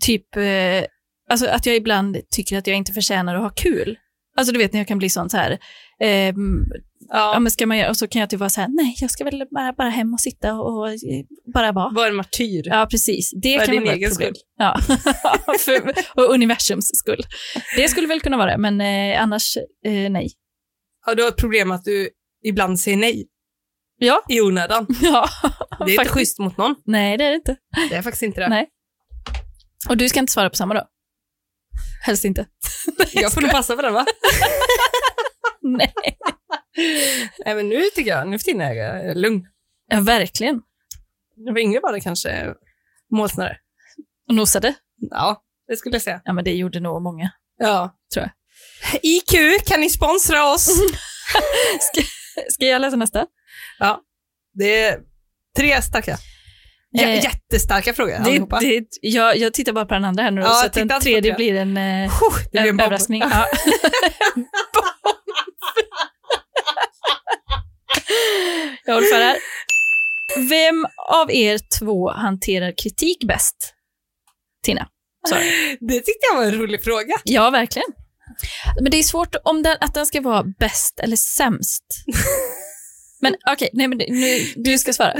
S1: typ, eh, alltså att jag ibland tycker att jag inte förtjänar att ha kul. Alltså du vet när jag kan bli sån så här, ehm, ja.
S4: ja.
S1: men ska man göra, och så kan jag typ vara så här, nej jag ska väl bara, bara hem och sitta och eh, bara vara.
S4: Var en martyr.
S1: Ja, precis. Det
S4: För
S1: kan
S4: din
S1: väl vara
S4: egen
S1: ett problem.
S4: skull.
S1: Ja, för, och universums skull. Det skulle väl kunna vara det, men eh, annars eh, nej.
S4: Ja, du har ett problem att du ibland säger nej
S1: Ja,
S4: i onödan.
S1: ja.
S4: Det är inte
S1: faktiskt.
S4: schysst mot någon.
S1: Nej, det är det inte.
S4: Det är faktiskt inte det.
S1: Nej. Och du ska inte svara på samma då? Helst inte.
S4: Jag får nog passa på den va?
S1: Nej.
S4: Nej men nu tycker jag, nu för tiden är jag eh, lugn.
S1: Ja, verkligen.
S4: När jag var yngre var det kanske målsnare.
S1: Och nosade.
S4: Ja, det skulle jag säga.
S1: Ja, men det gjorde nog många.
S4: Ja,
S1: tror jag.
S4: IQ, kan ni sponsra oss?
S1: Ska, ska jag läsa nästa?
S4: Det är tre starka. J-
S1: Eh,
S4: jättestarka frågor
S1: Det,
S4: allihopa.
S1: det, jag, jag tittar bara på den andra här nu då,
S4: Ja,
S1: så att
S4: titta
S1: den
S4: inte på
S1: tredje
S4: det.
S1: blir en, eh,
S4: Puh, det blir en
S1: en
S4: bomb.
S1: överraskning. Ja. jag håller för här. Vem av er två hanterar kritik bäst? Tina. Sorry.
S4: Det tyckte jag var en rolig fråga.
S1: Ja, verkligen. Men det är svårt om den, att den ska vara bäst eller sämst. Men okej, nej men det- nu, du ska svara.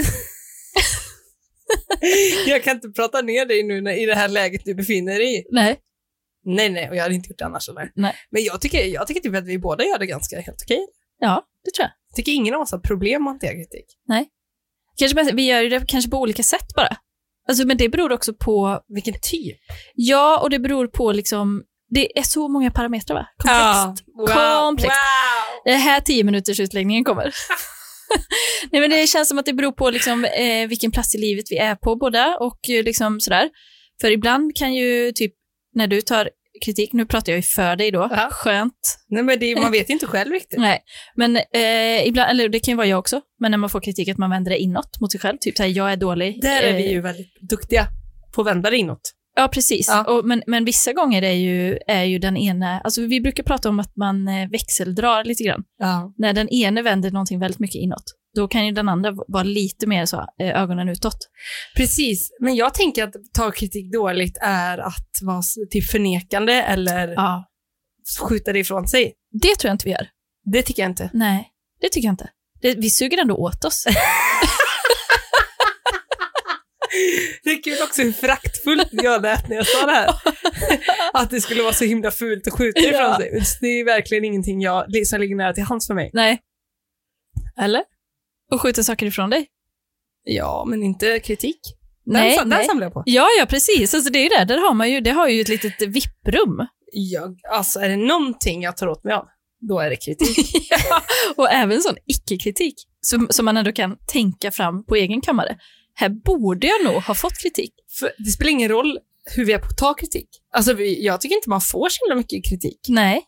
S4: Jag kan inte prata ner dig nu när, i det här läget du befinner dig i.
S1: Nej.
S4: Nej, nej, och jag hade inte gjort det annars. Eller?
S1: Nej.
S4: Men jag tycker, jag tycker typ att vi båda gör det ganska helt okej.
S1: Ja, det tror jag.
S4: Jag tycker ingen av oss har problem med att hantera kritik.
S1: Kanske, bäst- vi gör ju det kanske på olika sätt bara. Alltså, men det beror också på,
S4: Vilken typ?
S1: ja, och det beror på liksom, det är så många parametrar va? Komplext.
S4: Wow.
S1: Komplext.
S4: Wow.
S1: Det är här tio minuters utläggningen kommer. Nej, men det känns som att det beror på liksom, eh, vilken plats i livet vi är på båda och eh, liksom sådär. För ibland kan ju typ, när du tar kritik, nu pratar jag ju för dig då,
S4: Ja.
S1: skönt.
S4: Nej, men det, man vet inte själv riktigt.
S1: Nej, men eh, ibland, eller det kan ju vara jag också, men när man får kritik att man vänder det inåt mot sig själv, typ såhär, jag är dålig.
S4: Där är
S1: eh,
S4: vi ju väldigt duktiga på att vända det inåt.
S1: Ja, precis.
S4: Ja.
S1: Och, men, men vissa gånger är ju, är ju den ena, alltså vi brukar prata om att man eh, växeldrar lite grann.
S4: Ja.
S1: när den ene vänder någonting väldigt mycket inåt, då kan ju den andra v- vara lite mer så, eh, ögonen utåt.
S4: Precis, men jag tänker att ta kritik dåligt är att vara s- typ förnekande eller
S1: Ja.
S4: skjuta det ifrån sig.
S1: Det tror jag inte vi gör.
S4: Det tycker jag inte.
S1: Nej, det tycker jag inte. Det, vi suger ändå åt oss.
S4: Det är kul också hur fraktfullt jag lät när jag sa det här. Att det skulle vara så himla fult att skjuta ifrån
S1: Ja.
S4: sig. Det är verkligen ingenting jag, som ligger nära till hands för mig.
S1: Nej,
S4: Eller?
S1: och skjuter saker ifrån dig.
S4: Ja, men inte kritik. Den,
S1: Nej,
S4: sa- den
S1: nej.
S4: samlar jag på.
S1: Ja, ja, precis. Alltså, det är ju det. Där har man ju, det har ju ett litet vipprum.
S4: Jag, alltså, är det någonting jag tar åt mig av, då är det kritik.
S1: Och även sån icke-kritik som, som man ändå kan tänka fram på egen kammare. Här borde jag nog ha fått kritik.
S4: För det spelar ingen roll hur vi är på att ta kritik. Alltså, vi, jag tycker inte man får så himla mycket kritik.
S1: Nej.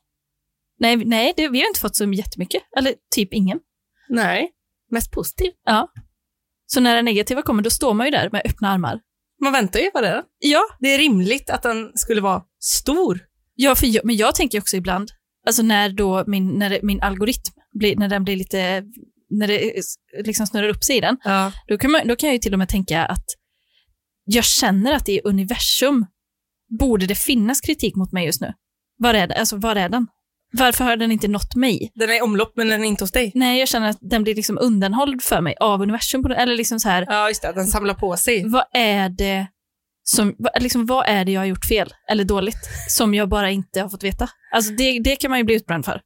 S1: Nej, nej det, vi har inte fått så jättemycket. Eller typ ingen.
S4: Nej. Mest positiv.
S1: Så när det negativa kommer, då står man ju där med öppna armar.
S4: Man väntar ju på det.
S1: Ja,
S4: Det är rimligt att den skulle vara stor.
S1: Ja, för jag, men jag tänker också ibland, alltså när då min, när det, min algoritm, blir, när den blir lite, när det eh, liksom snurrar upp sig i den,
S4: Ja.
S1: då kan, man, då kan jag ju till och med tänka att jag känner att i universum borde det finnas kritik mot mig just nu. Var är, det? Alltså, var är den? Varför har den inte nått mig?
S4: Den är i omlopp men den är inte hos dig.
S1: Nej, jag känner att den blir liksom undanhålld för mig av universum. På, eller liksom så här,
S4: Ja, just det. Den samlar på sig.
S1: vad är det som, vad- liksom, vad är det jag har gjort fel eller dåligt som jag bara inte har fått veta? Alltså det, det kan man ju bli utbränd för.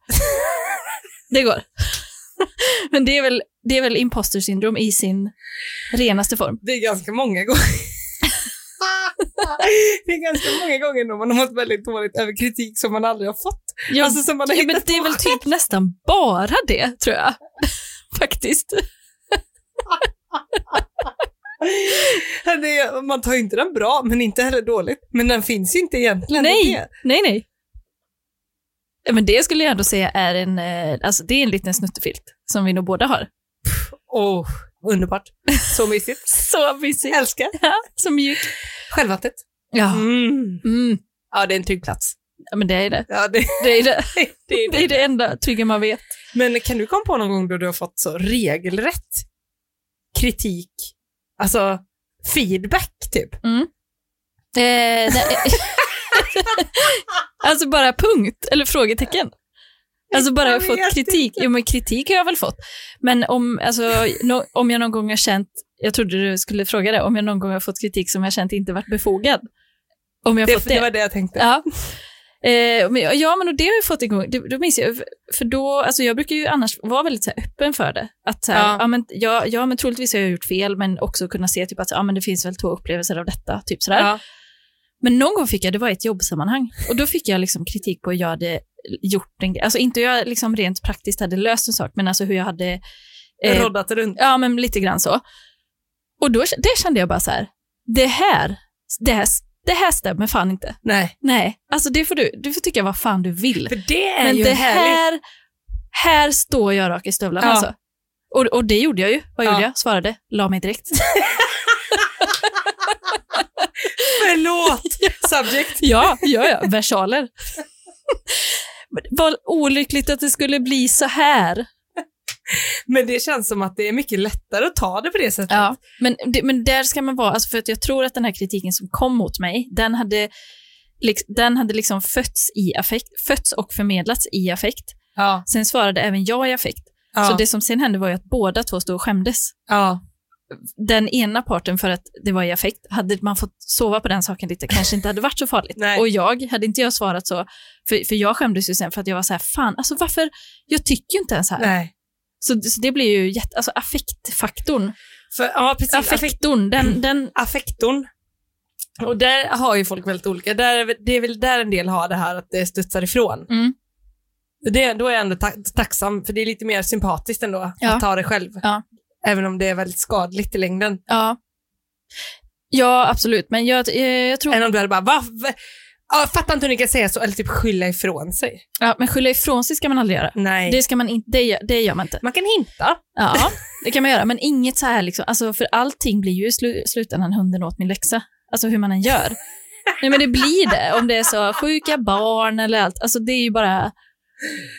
S1: Det går. Men det är väl, det är väl imposter syndrom i sin renaste form.
S4: Det är ganska många gånger. det är ganska många gånger då man har mått väldigt dåligt över kritik som man aldrig har fått.
S1: Jag,
S4: Alltså som man har
S1: ja, men
S4: hittat
S1: det är
S4: på.
S1: väl typ nästan bara det, tror jag. Faktiskt.
S4: Det är, man tar ju inte den bra, men inte heller dåligt. Men den finns ju inte egentligen. Det är
S1: Nej,
S4: det.
S1: nej, nej. Ja, Men det skulle jag ändå säga är en, eh, alltså det är en liten snuttefilt som vi nog båda har.
S4: Åh, underbart. Så mysigt.
S1: Så mysig.
S4: Jag älskar.
S1: Så mjuk.
S4: Självhatet.
S1: Ja.
S4: Mm.
S1: Mm.
S4: Ja, det är en trygg plats.
S1: Ja, men det är det.
S4: Ja, det,
S1: Det är det,
S4: det är
S1: det, är det enda trygga man vet.
S4: Men kan du komma på någon gång då du har fått så regelrätt kritik, alltså feedback typ?
S1: Eh, nej. alltså bara punkt eller frågetecken. Alltså bara
S4: Jag
S1: fått
S4: vet
S1: kritik. Jo men kritik har jag väl fått. Men om, alltså, no, om jag någon gång har känt, jag trodde du skulle fråga det, om jag någon gång har fått kritik som jag känt inte varit befogad. Om jag
S4: Det,
S1: fått
S4: det. var det jag tänkte.
S1: Ja. Eh, men, ja, men och det har jag fått igång. Det, då minns jag, för då, alltså jag brukar ju annars vara väldigt så här, öppen för det. Att så här, ja.
S4: Ja.
S1: men, ja, ja, men troligtvis har jag gjort fel, men också kunna se typ att ja, men det finns väl två upplevelser av detta. Typ sådär.
S4: Ja.
S1: Men någon gång fick jag, det var i ett jobbsammanhang, och då fick jag liksom kritik på hur jag hade gjort en grej. Alltså inte hur jag liksom rent praktiskt hade löst en sak, men alltså hur jag hade... eh,
S4: Roddat runt.
S1: Ja, men lite grann så. Och då, det kände jag bara så här, det här, det här, det här stämmer fan inte.
S4: Nej.
S1: Nej, alltså det får du, du får tycka vad fan du vill.
S4: För det är
S1: Men
S4: ju
S1: det
S4: härligt.
S1: här, här står jag rak i stövlarna
S4: Ja.
S1: alltså. Och, och det gjorde jag ju. Vad gjorde
S4: Ja.
S1: jag? Svarade, la mig direkt.
S4: Förlåt! Subject.
S1: ja, ja, ja, versaler. Men Vad olyckligt att det skulle bli så här.
S4: Men det känns som att det är mycket lättare att ta det på det sättet.
S1: Ja, men, det, men där ska man vara, alltså för att jag tror att den här kritiken som kom mot mig, den hade, lik- den hade liksom fötts, i affekt, fötts och förmedlats i affekt.
S4: Ja.
S1: Sen svarade även jag i affekt.
S4: Ja.
S1: Så det som sen hände var ju att båda två stod och skämdes.
S4: ja.
S1: den ena parten för att det var i affekt. Hade man fått sova på den saken lite kanske inte hade varit så farligt.
S4: Nej.
S1: Och jag, hade inte jag svarat så, för, för jag skämdes ju sen för att jag var så här, fan, alltså varför, jag tycker ju inte ens så här.
S4: Nej.
S1: Så, så det blir ju jätte, alltså affektfaktorn,
S4: För, ja, precis. Affekt. Mm.
S1: affektorn, den, den,
S4: Affektorn. Och där har ju folk väldigt olika. Där, är väl- det är väl där en del har det här att det studsar ifrån.
S1: Mm.
S4: Det, då är jag ändå ta- tacksam, för det är lite mer sympatiskt ändå
S1: Ja.
S4: att ta det själv.
S1: Ja.
S4: Även om det är väldigt skadligt i längden.
S1: ja. Ja, absolut, men jag, eh, jag tror...
S4: Än om du hade bara, va? va? Ja, fattar inte hur ni kan säga så, eller typ skylla ifrån sig.
S1: Ja, men skylla ifrån sig ska man aldrig göra.
S4: Nej.
S1: Det, ska man in, det, gör, det gör man inte.
S4: Man kan hinta.
S1: Ja, det kan man göra. Men inget så här, liksom, alltså, för allting blir ju i slu- slutändan hunden åt min läxa. Alltså hur man än gör. Nej, men det blir det. Om det är så sjuka barn eller allt. Alltså det är ju bara...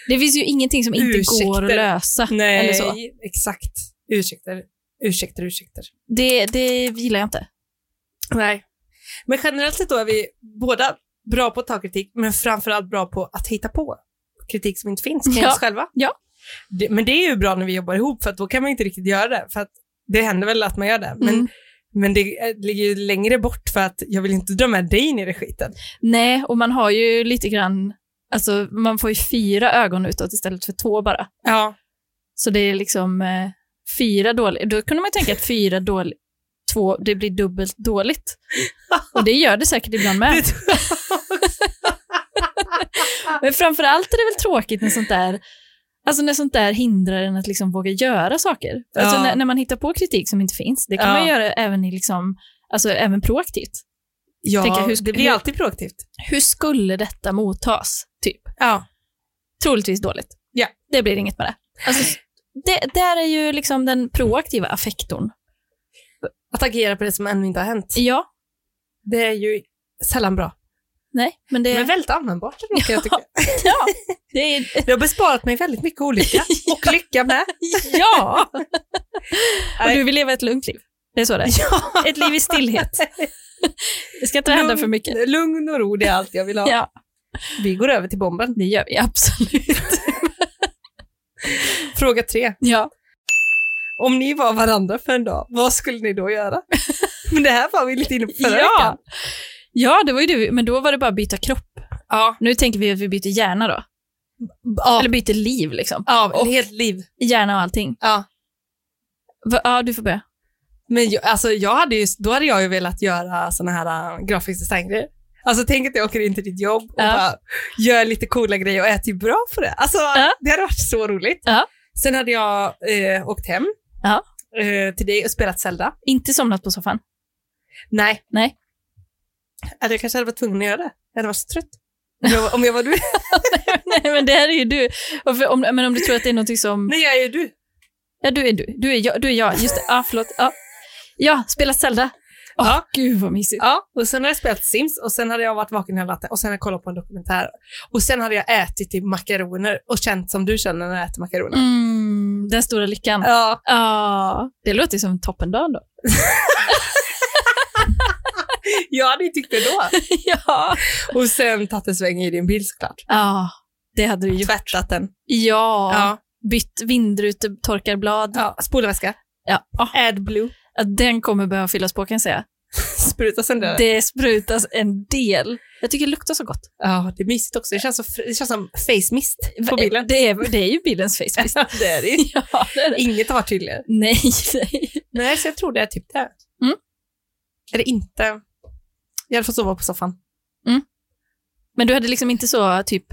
S1: Det finns ju ingenting som inte går att
S4: Ursäkter.
S1: lösa.
S4: Nej,
S1: Eller så.
S4: exakt. Ursäkter, ursäkter, ursäkter.
S1: Det, det gillar jag inte.
S4: Nej. Men generellt sett då är vi båda bra på att ta kritik, men framförallt bra på att hitta på kritik som inte finns kring
S1: Ja.
S4: oss själva.
S1: Ja.
S4: Det, men det är ju bra när vi jobbar ihop, för att då kan man inte riktigt göra det. För att det händer väl att man gör det, men,
S1: Mm.
S4: men det eh, ligger ju längre bort för att jag vill inte dra med dig ner i skiten.
S1: Nej, och man har ju lite grann... Alltså man får ju fyra ögon utåt istället för två bara.
S4: Ja.
S1: Så det är liksom eh, fyra dåligt. Då kunde man ju tänka att fyra dåligt, två, det blir dubbelt dåligt. Och det gör det säkert ibland med.
S4: Det tror jag.
S1: Men framför allt är det väl tråkigt när sånt där, alltså när sånt där hindrar en att liksom våga göra saker. Alltså
S4: Ja.
S1: när, när man hittar på kritik som inte finns, det kan
S4: Ja.
S1: man göra även, i liksom, alltså även proaktivt.
S4: Ja,
S1: Tänker, hur sk-
S4: det blir
S1: hur-
S4: alltid proaktivt.
S1: Hur skulle detta mottas? Typ.
S4: Ja.
S1: Troligtvis dåligt.
S4: Ja.
S1: Det blir inget med det. Alltså, det där är ju liksom den proaktiva affektorn.
S4: Att agera på det som ännu inte har hänt,
S1: Ja,
S4: det är ju sällan bra.
S1: nej, men det...
S4: Men väldigt användbart, kan jag tycka.
S1: ja, det är,
S4: Det har besparat mig väldigt mycket olycka, och lycka med.
S1: ja! Och du vill leva ett lugnt liv. Det är så det är. Ett liv i stillhet. Det ska inte hända för mycket.
S4: Lugn och ro, det är allt jag vill ha.
S1: Ja,
S4: Vi går över till bomben.
S1: det gör vi absolut.
S4: Fråga tre.
S1: Ja.
S4: Om ni var varandra för en dag, vad skulle ni då göra? Men det här var vi lite inne på förra veckan.
S1: Ja. ja, det var ju du. Men då var det bara att byta kropp.
S4: Ja.
S1: Nu tänker vi att vi byter hjärna då.
S4: Ja.
S1: Eller byter liv liksom.
S4: Ja,
S1: Och-
S4: ett helt liv.
S1: Hjärna och allting.
S4: Ja.
S1: Va- Ja, du får börja.
S4: Men jag, alltså, jag hade ju, då hade jag ju velat göra såna här äh, grafisk design-grejer. Alltså tänk att jag åker in till ditt jobb och
S1: Ja.
S4: bara gör lite coola grejer och äter ju bra på det. Alltså
S1: Ja.
S4: det hade varit så roligt.
S1: Ja.
S4: Sen hade jag eh, åkt hem
S1: Ja.
S4: eh, till dig och spelat Zelda.
S1: Inte somnat på soffan.
S4: Nej.
S1: Nej.
S4: Alltså, jag kanske hade varit tvungen att göra det. Jag hade varit så trött. Om jag, om jag var du.
S1: Nej, men det här är ju du. Och för, om, men om du tror att det är någonting som...
S4: Nej, jag är ju du.
S1: Ja, du är du. Du är jag. Du är jag. Just det. Ja, förlåt. Ja, ja spela Zelda. Åh,
S4: Ja.
S1: gud vad mysigt.
S4: Ja, och sen hade jag spelat Sims och sen hade jag varit vaken hela natten och sen hade jag kollat på en dokumentär. Och sen hade jag ätit typ makaroner och känt som du känner när jag äter makaroner.
S1: Mm, den stora lyckan.
S4: Ja.
S1: Ja, det låter ju som en toppendag då.
S4: Jag hade ju tyckt det då.
S1: ja.
S4: Och sen tagit en sväng i din bil såklart.
S1: ja, det hade du gjort.
S4: Tvättat den.
S1: Ja,
S4: Ja.
S1: bytt vindrutetorkarblad.
S4: ja. Spolarväska.
S1: Ja.
S4: AdBlue.
S1: ja, den kommer behöva fyllas på kan jag säga.
S4: Spruta sönder den.
S1: Det sprutas en del. Jag tycker det luktar så gott.
S4: Ja, det är mysigt också. Det känns, så, fr- det känns som face mist på bilen.
S1: Det är, det är ju bilens face mist.
S4: det är det ju.
S1: ja, det är det.
S4: Inget har varit tydligare.
S1: Nej, nej.
S4: Nej, så jag tror det är typ det.
S1: Mm.
S4: Eller inte. Jag hade fått sova på soffan.
S1: Men du hade liksom inte så typ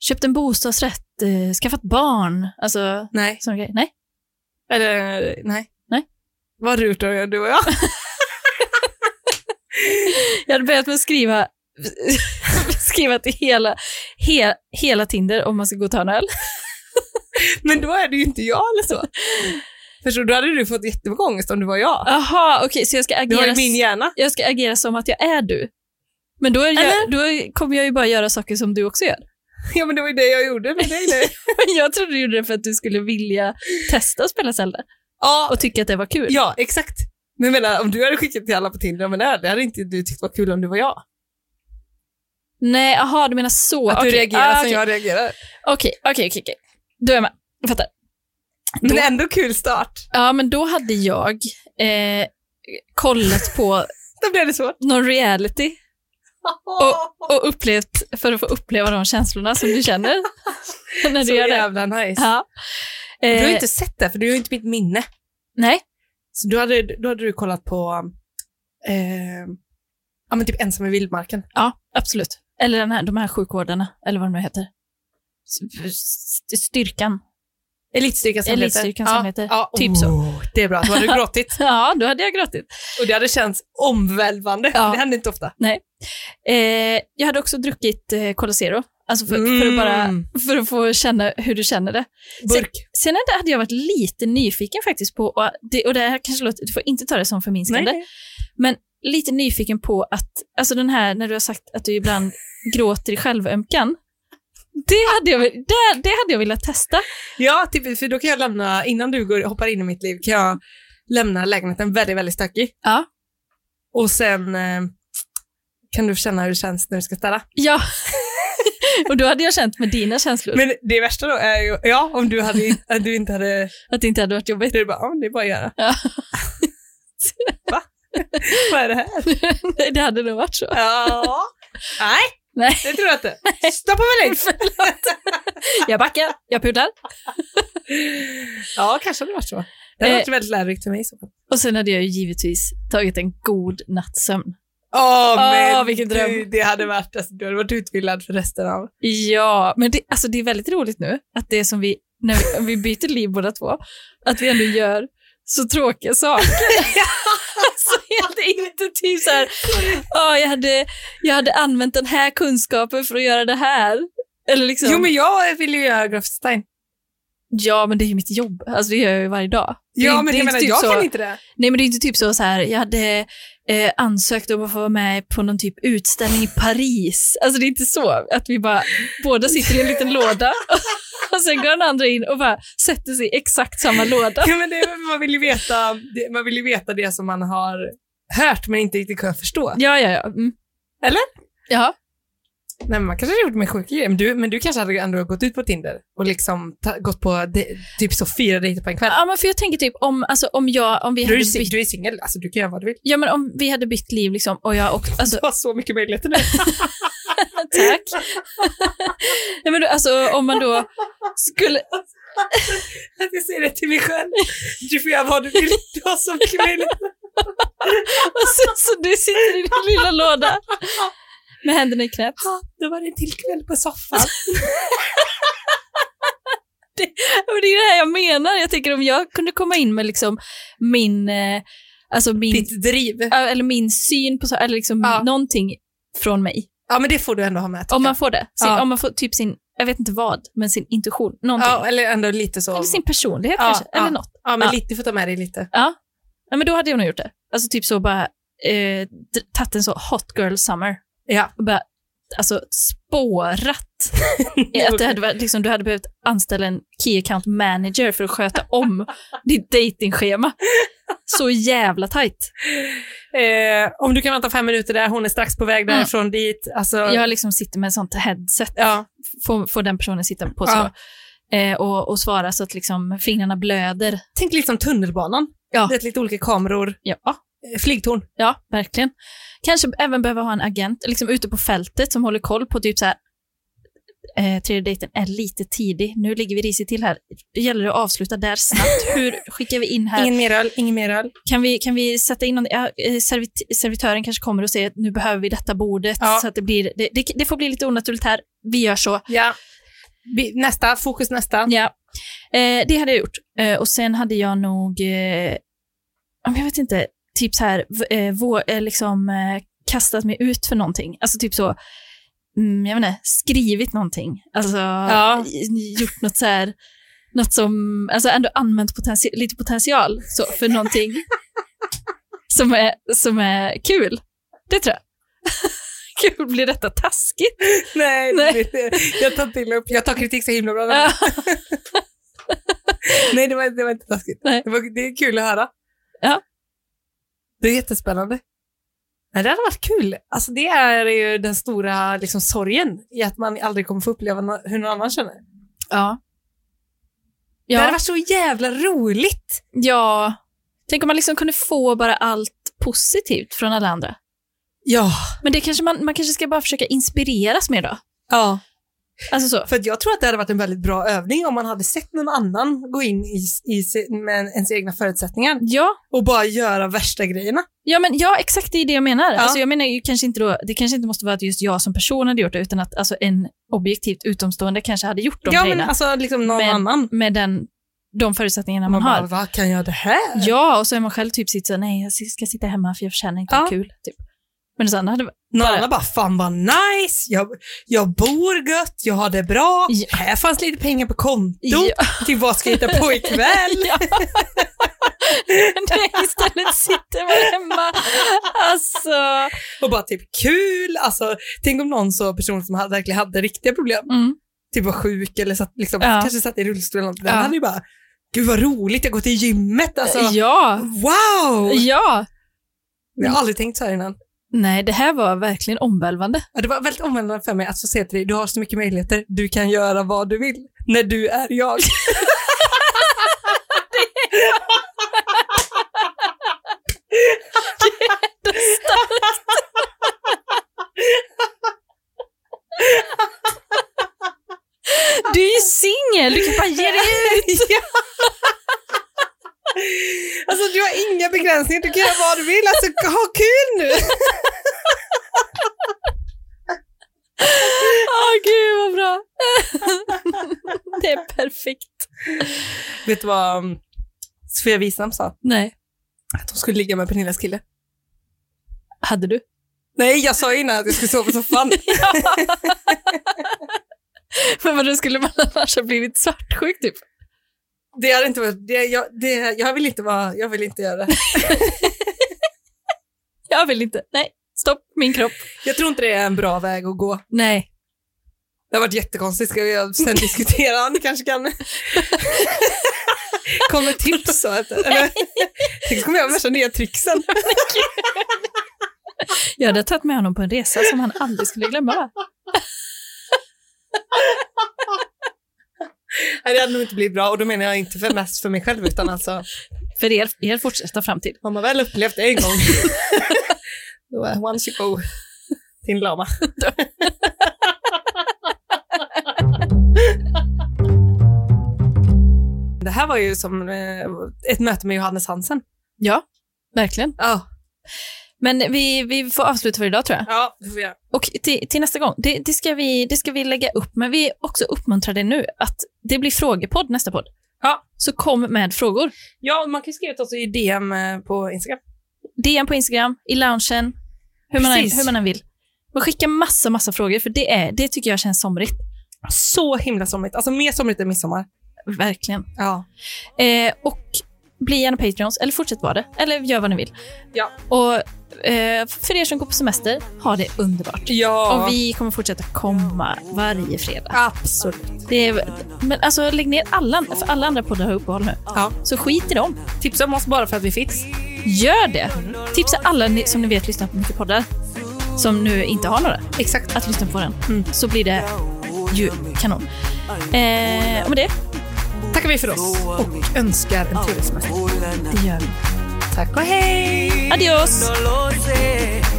S1: köpt en bostadsrätt, eh, skaffat barn, alltså
S4: Nej.
S1: sån grej. Nej,
S4: Eller nej.
S1: Nej.
S4: Vad rurt har jag, du och jag.
S1: jag hade börjat med att skriva skriva till hela, he, hela Tinder om man ska gå och ta en öl.
S4: Men då är det ju inte jag eller så. Förstår du? Då hade du fått jättemycket ångest om du var jag.
S1: Aha, okej, så jag ska
S4: Du har ju
S1: agera
S4: min hjärna.
S1: jag ska agera som att jag är du. Men då, är jag, då kommer jag ju bara göra saker som du också gör.
S4: Ja, men det var ju det jag gjorde med dig nu.
S1: Men jag trodde du gjorde det för att du skulle vilja testa att spela Zelda
S4: Ja,
S1: och tycka att det var kul.
S4: Ja, exakt. Men jag menar, om du hade skickat till alla på Tinder om en öl, det hade inte du tyckt var kul om du var jag.
S1: Nej, aha, du menar så.
S4: Att du
S1: Okej,
S4: reagerar
S1: ah,
S4: som
S1: okej.
S4: jag reagerar.
S1: Okej, okej, okej. okej. Då är jag med. Jag fattar.
S4: Men
S1: Då-
S4: ändå kul start.
S1: Ja, men då hade jag eh, kollat på
S4: Då blev det svårt.
S1: någon reality och upplevt, för att få uppleva de känslorna som du känner när
S4: så
S1: du gör det.
S4: jävla nice.
S1: Ja.
S4: Du har ju
S1: Eh,
S4: inte sett det, för du har ju inte mitt minne.
S1: nej,
S4: Så då hade, då hade du kollat på eh, ja, men typ Ensam i vildmarken.
S1: Ja, absolut. Eller den här, de här sjukvårdarna, eller vad de nu heter. S- s- Styrkan.
S4: Elitstyrkans hemligheter.
S1: Elitstyrkans
S4: ja,
S1: hemligheter.
S4: Ja,
S1: Typ så.
S4: Oh, det är bra, då hade du gråtit.
S1: Ja, då hade jag gråtit.
S4: Och det hade känts omvälvande.
S1: Ja.
S4: Det händer inte ofta.
S1: Eh, jag hade också druckit eh, Colosero, alltså för, för, att bara,
S4: Mm.
S1: för att få känna hur du känner det.
S4: Burk.
S1: Sen hade- hade jag varit lite nyfiken faktiskt på, och det, och det här kanske låter, du får inte ta det som förminskande,
S4: Nej.
S1: lite nyfiken på att, alltså den här när du har sagt att du ibland gråter i självömkan, det hade jag, väl- det, det hade jag velat testa.
S4: Ja, typ, för då kan jag lämna, innan du går, hoppar in i mitt liv, kan jag lämna lägenheten väldigt, väldigt stökig.
S1: Ja.
S4: Och sen eh, kan du känna hur det känns när du ska städa.
S1: Ja, och då hade jag känt med dina känslor
S4: Men det värsta då är ju, ja, om du, hade, att du inte hade,
S1: att det inte hade varit jobbigt.
S4: det är bara, ja, men det är bara att göra.
S1: Ja.
S4: Va? Vad är det här?
S1: Nej, det hade nog varit så.
S4: Ja. Nej,
S1: Nej.
S4: det tror jag inte. Stoppa mig längst.
S1: Jag backar, jag pudlar.
S4: Ja, kanske hade det varit så. Det
S1: Eh.
S4: hade varit väldigt lärorikt för mig i så fall.
S1: Och sen hade jag ju givetvis tagit en god nattsömn.
S4: Åh,
S1: Åh,
S4: men
S1: vilken dröm.
S4: Du, det hade varit, alltså, du hade varit utbildad för resten av...
S1: Ja, men det, alltså det är väldigt roligt nu att det som vi, när vi, om vi byter liv båda två, att vi ändå gör så tråkiga saker. alltså jag hade inte typ så här, "Åh, jag, hade, jag hade använt den här kunskapen för att göra det här. Eller liksom,
S4: Jo, men jag vill ju göra grafisk design.
S1: Ja, men det är ju mitt jobb. Alltså det gör jag ju varje dag.
S4: Ja,
S1: det, är-
S4: men
S1: det är
S4: jag
S1: inte
S4: menar,
S1: typ
S4: jag
S1: så,
S4: kan inte det.
S1: Nej, men det är inte typ så, så här, jag hade eh, ansökt om att få vara med på någon typ utställning i Paris. Alltså det är inte så att vi bara båda sitter i en liten låda Och sen går den andra in och bara sätter sig i exakt samma låda.
S4: Ja, men det, man, vill ju veta, det- man vill ju veta det som man har hört men inte riktigt kunnat förstå.
S1: Ja, ja, ja. Mm.
S4: Eller?
S1: Ja.
S4: Nej, men man kanske hade gjort med sjuka grejer, men du, men du kanske hade ändå gått ut på Tinder och liksom ta, gått på de, typ så fyra dejter på en kväll.
S1: ja, men för jag tänker typ om, alltså, om jag, om vi
S4: Du
S1: hade
S4: är, si-
S1: bytt,
S4: du är singel, alltså du kan göra vad du vill.
S1: ja men om vi hade bytt liv liksom och jag också, alltså
S4: Du har så mycket möjligheter nu.
S1: tack. Nej men då, alltså om man då skulle,
S4: Att jag säger det till mig själv. Du får göra vad du vill. Du har så mycket möjligheter.
S1: och sen så du sitter i din lilla låda med händerna i knät.
S4: Ja, Då var det en till kväll på soffan.
S1: Alltså, Och det är det här jag menar, jag tänker om jag kunde komma in med liksom min, eh, alltså min,
S4: Ditt driv.
S1: ja, eller min syn på så, eller liksom
S4: Ja.
S1: någonting från mig.
S4: Ja, men det får du ändå ha med. tycker
S1: Om man får det. Sin,
S4: Ja.
S1: Om man får typ sin, jag vet inte vad, men sin intuition,
S4: jag.
S1: någonting.
S4: Ja, eller ändå lite så.
S1: Eller sin personlighet
S4: Ja,
S1: kanske,
S4: ja.
S1: eller något.
S4: Ja, men
S1: Ja.
S4: lite, du får ta med dig lite.
S1: Ja, men då hade jag nog gjort det. Alltså typ så bara, eh, d- tagit en så hot girl summer.
S4: Ja.
S1: Och bara, alltså spårat. att det hade varit, liksom, du hade behövt anställa en key account manager för att sköta om ditt datingschema. Så jävla tajt.
S4: Eh, om du kan vänta fem minuter där, hon är strax på väg därifrån dit. Alltså,
S1: Jag liksom sitter med ett sånt headset,
S4: ja.
S1: får, får den personen sitta på så.
S4: Ja.
S1: Eh, och, och svara så att liksom fingrarna blöder.
S4: Tänk lite som tunnelbanan.
S1: Ja.
S4: Det är lite olika kameror.
S1: Ja,
S4: Eh, Flygtorn.
S1: Ja, verkligen. Kanske även behöva ha en agent liksom ute på fältet som håller koll på typ så här, eh, tredje dejten är lite tidig, nu ligger vi risigt till här, det gäller att avsluta där snabbt, hur skickar vi in här,
S4: Ingen mer öl, ingen mer öl.
S1: kan, vi, kan vi sätta in någon, ja, eh, servit- servitören kanske kommer och säger att nu behöver vi detta bordet,
S4: Ja.
S1: så att det blir, det, det, det får bli lite onaturligt här, vi gör så.
S4: Ja. Vi- Nästa, fokus nästa.
S1: Ja. Eh, det hade jag gjort. Eh, och sen hade jag nog, eh, ja, men jag vet inte, typ så här, v- eh, vå, eh, liksom eh, kastat mig ut för någonting. Alltså typ så, mm, jag vet inte, skrivit någonting. Alltså
S4: Ja.
S1: i- gjort något så här, något som, alltså ändå använt potenti- lite potential så, för någonting som, är, som är kul. Det tror jag. Gud, blir detta taskigt?
S4: Nej,
S1: Nej.
S4: det- jag tar till upp. Jag tar kritik så himla bra.
S1: Ja.
S4: Nej, det var, det var inte taskigt.
S1: Nej.
S4: Det, var, det är kul att höra.
S1: Ja.
S4: Det är jättespännande. Nej, det hade varit kul. Alltså, det är ju den stora liksom, sorgen i att man aldrig kommer få uppleva nå- hur någon annan känner.
S1: ja.
S4: Det hade varit så jävla roligt.
S1: Ja, tänk om man liksom kunde få bara allt positivt från alla andra.
S4: Ja.
S1: Men det kanske man, man kanske ska bara försöka inspireras mer då.
S4: ja.
S1: Alltså så.
S4: För att jag tror att det hade varit en väldigt bra övning om man hade sett någon annan gå in i, i, se- med ens egna förutsättningar
S1: Ja,
S4: och bara göra värsta grejerna.
S1: ja, men, ja exakt det är det jag menar.
S4: Ja.
S1: Alltså, jag menar ju kanske inte då, det kanske inte måste vara att just jag som person hade gjort det, utan att alltså, en objektivt utomstående kanske hade gjort de
S4: ja, men
S1: grejerna
S4: alltså liksom någon
S1: Men-
S4: annan.
S1: med den, de förutsättningarna man, har.
S4: bara, vad kan jag det här?
S1: Ja, och så är man själv typ sitt så nej jag ska sitta hemma för jag förtjänar inte
S4: Ja.
S1: ja. kul. Typ. Men sen hade
S4: Någon
S1: Bara-
S4: annan bara, fan vad nice, jag, jag bor gött, jag har det bra,
S1: Ja.
S4: här fanns lite pengar på kontot,
S1: Ja.
S4: till vad ska jag hitta på ikväll?
S1: Ja. Nej, istället sitter man hemma. Alltså.
S4: Och bara typ kul, alltså tänk om någon så person som hade, verkligen hade riktiga problem,
S1: Mm.
S4: typ var sjuk eller satt, liksom,
S1: Ja.
S4: kanske satt i rullstol eller något, den
S1: Ja.
S4: hade ju bara, gud vad roligt, jag går till gymmet, alltså
S1: Ja.
S4: wow!
S1: Ja.
S4: Jag har aldrig tänkt så här innan.
S1: Nej, det här var verkligen omvälvande.
S4: Ja, Det var väldigt omvändande för mig att få säga till dig, du har så mycket möjligheter, du kan göra vad du vill, när du är jag.
S1: Du är ju singel, du kan bara ge dig
S4: Ja. Alltså du har inga begränsningar, du kan göra vad du vill. Alltså ha kul nu!
S1: Åh gud vad bra. det är perfekt.
S4: Vet du vad um, Sofia Wistam sa?
S1: Nej.
S4: Att hon skulle ligga med Pernillas kille.
S1: Hade du?
S4: Nej, jag sa innan att jag skulle sova på soffan.
S1: Men vadå, skulle man annars ha blivit svartsjuk typ?
S4: Det hade inte varit, det, jag, det, jag vill inte vara, jag vill inte göra det.
S1: Jag vill inte. Nej, stopp min kropp.
S4: Jag tror inte det är en bra väg att gå.
S1: Nej.
S4: Det har varit jättekonstigt. Ska vi sen diskutera? Han kanske kan... Kommer tips? Så att, eller, tänk om jag har värsta nya tricksen.
S1: Jag hade tagit med honom på en resa som han aldrig skulle glömma.
S4: Nej, det hade nog inte blivit bra. Och då menar jag inte för mest för mig själv, utan alltså,
S1: För er, er fortsatta framtid.
S4: har man väl upplevt det en gång, då är once you go till en lama. Det här var ju som eh, ett möte med Johannes Hansen.
S1: Ja, verkligen.
S4: Ja,
S1: Men vi, vi får avsluta för idag tror jag.
S4: ja det får vi göra.
S1: Och till, till nästa gång, det, det, ska vi, det ska vi lägga upp, men vi också uppmuntrar dig nu att det blir frågepodd nästa podd.
S4: Ja.
S1: Så kom med frågor.
S4: Ja, och man kan ju skriva till oss i DM eh, på Instagram.
S1: DM på Instagram, i loungen, hur man, än,
S4: Precis.
S1: hur man än vill. Men skicka massa, massa frågor, för det, är, det tycker jag känns somrigt.
S4: Så himla somrigt. Alltså mer somrigt än midsommar.
S1: Verkligen.
S4: Ja.
S1: Eh, och bli gärna Patreons, eller fortsätt vara det. Eller gör vad ni vill.
S4: Ja.
S1: Och eh, för er som går på semester, ha det underbart.
S4: Ja,
S1: Och vi kommer fortsätta komma varje fredag.
S4: absolut.
S1: Det är, men alltså lägg ner alla, för alla andra poddar har uppehåll nu.
S4: Ja.
S1: Så skit i dem.
S4: Tipsa om oss bara för att vi finns.
S1: Gör det! Tipsa alla ni, som ni vet lyssnar på mycket poddar, som nu inte har några,
S4: Exakt. Mm.
S1: att lyssna på den. Så blir det ju kanon. Eh, och med det,
S4: Tackar vi för oss och önskar en trevlig semester.
S1: det gör vi.
S4: Tack och hej!
S1: Adios!
S5: No lo sé.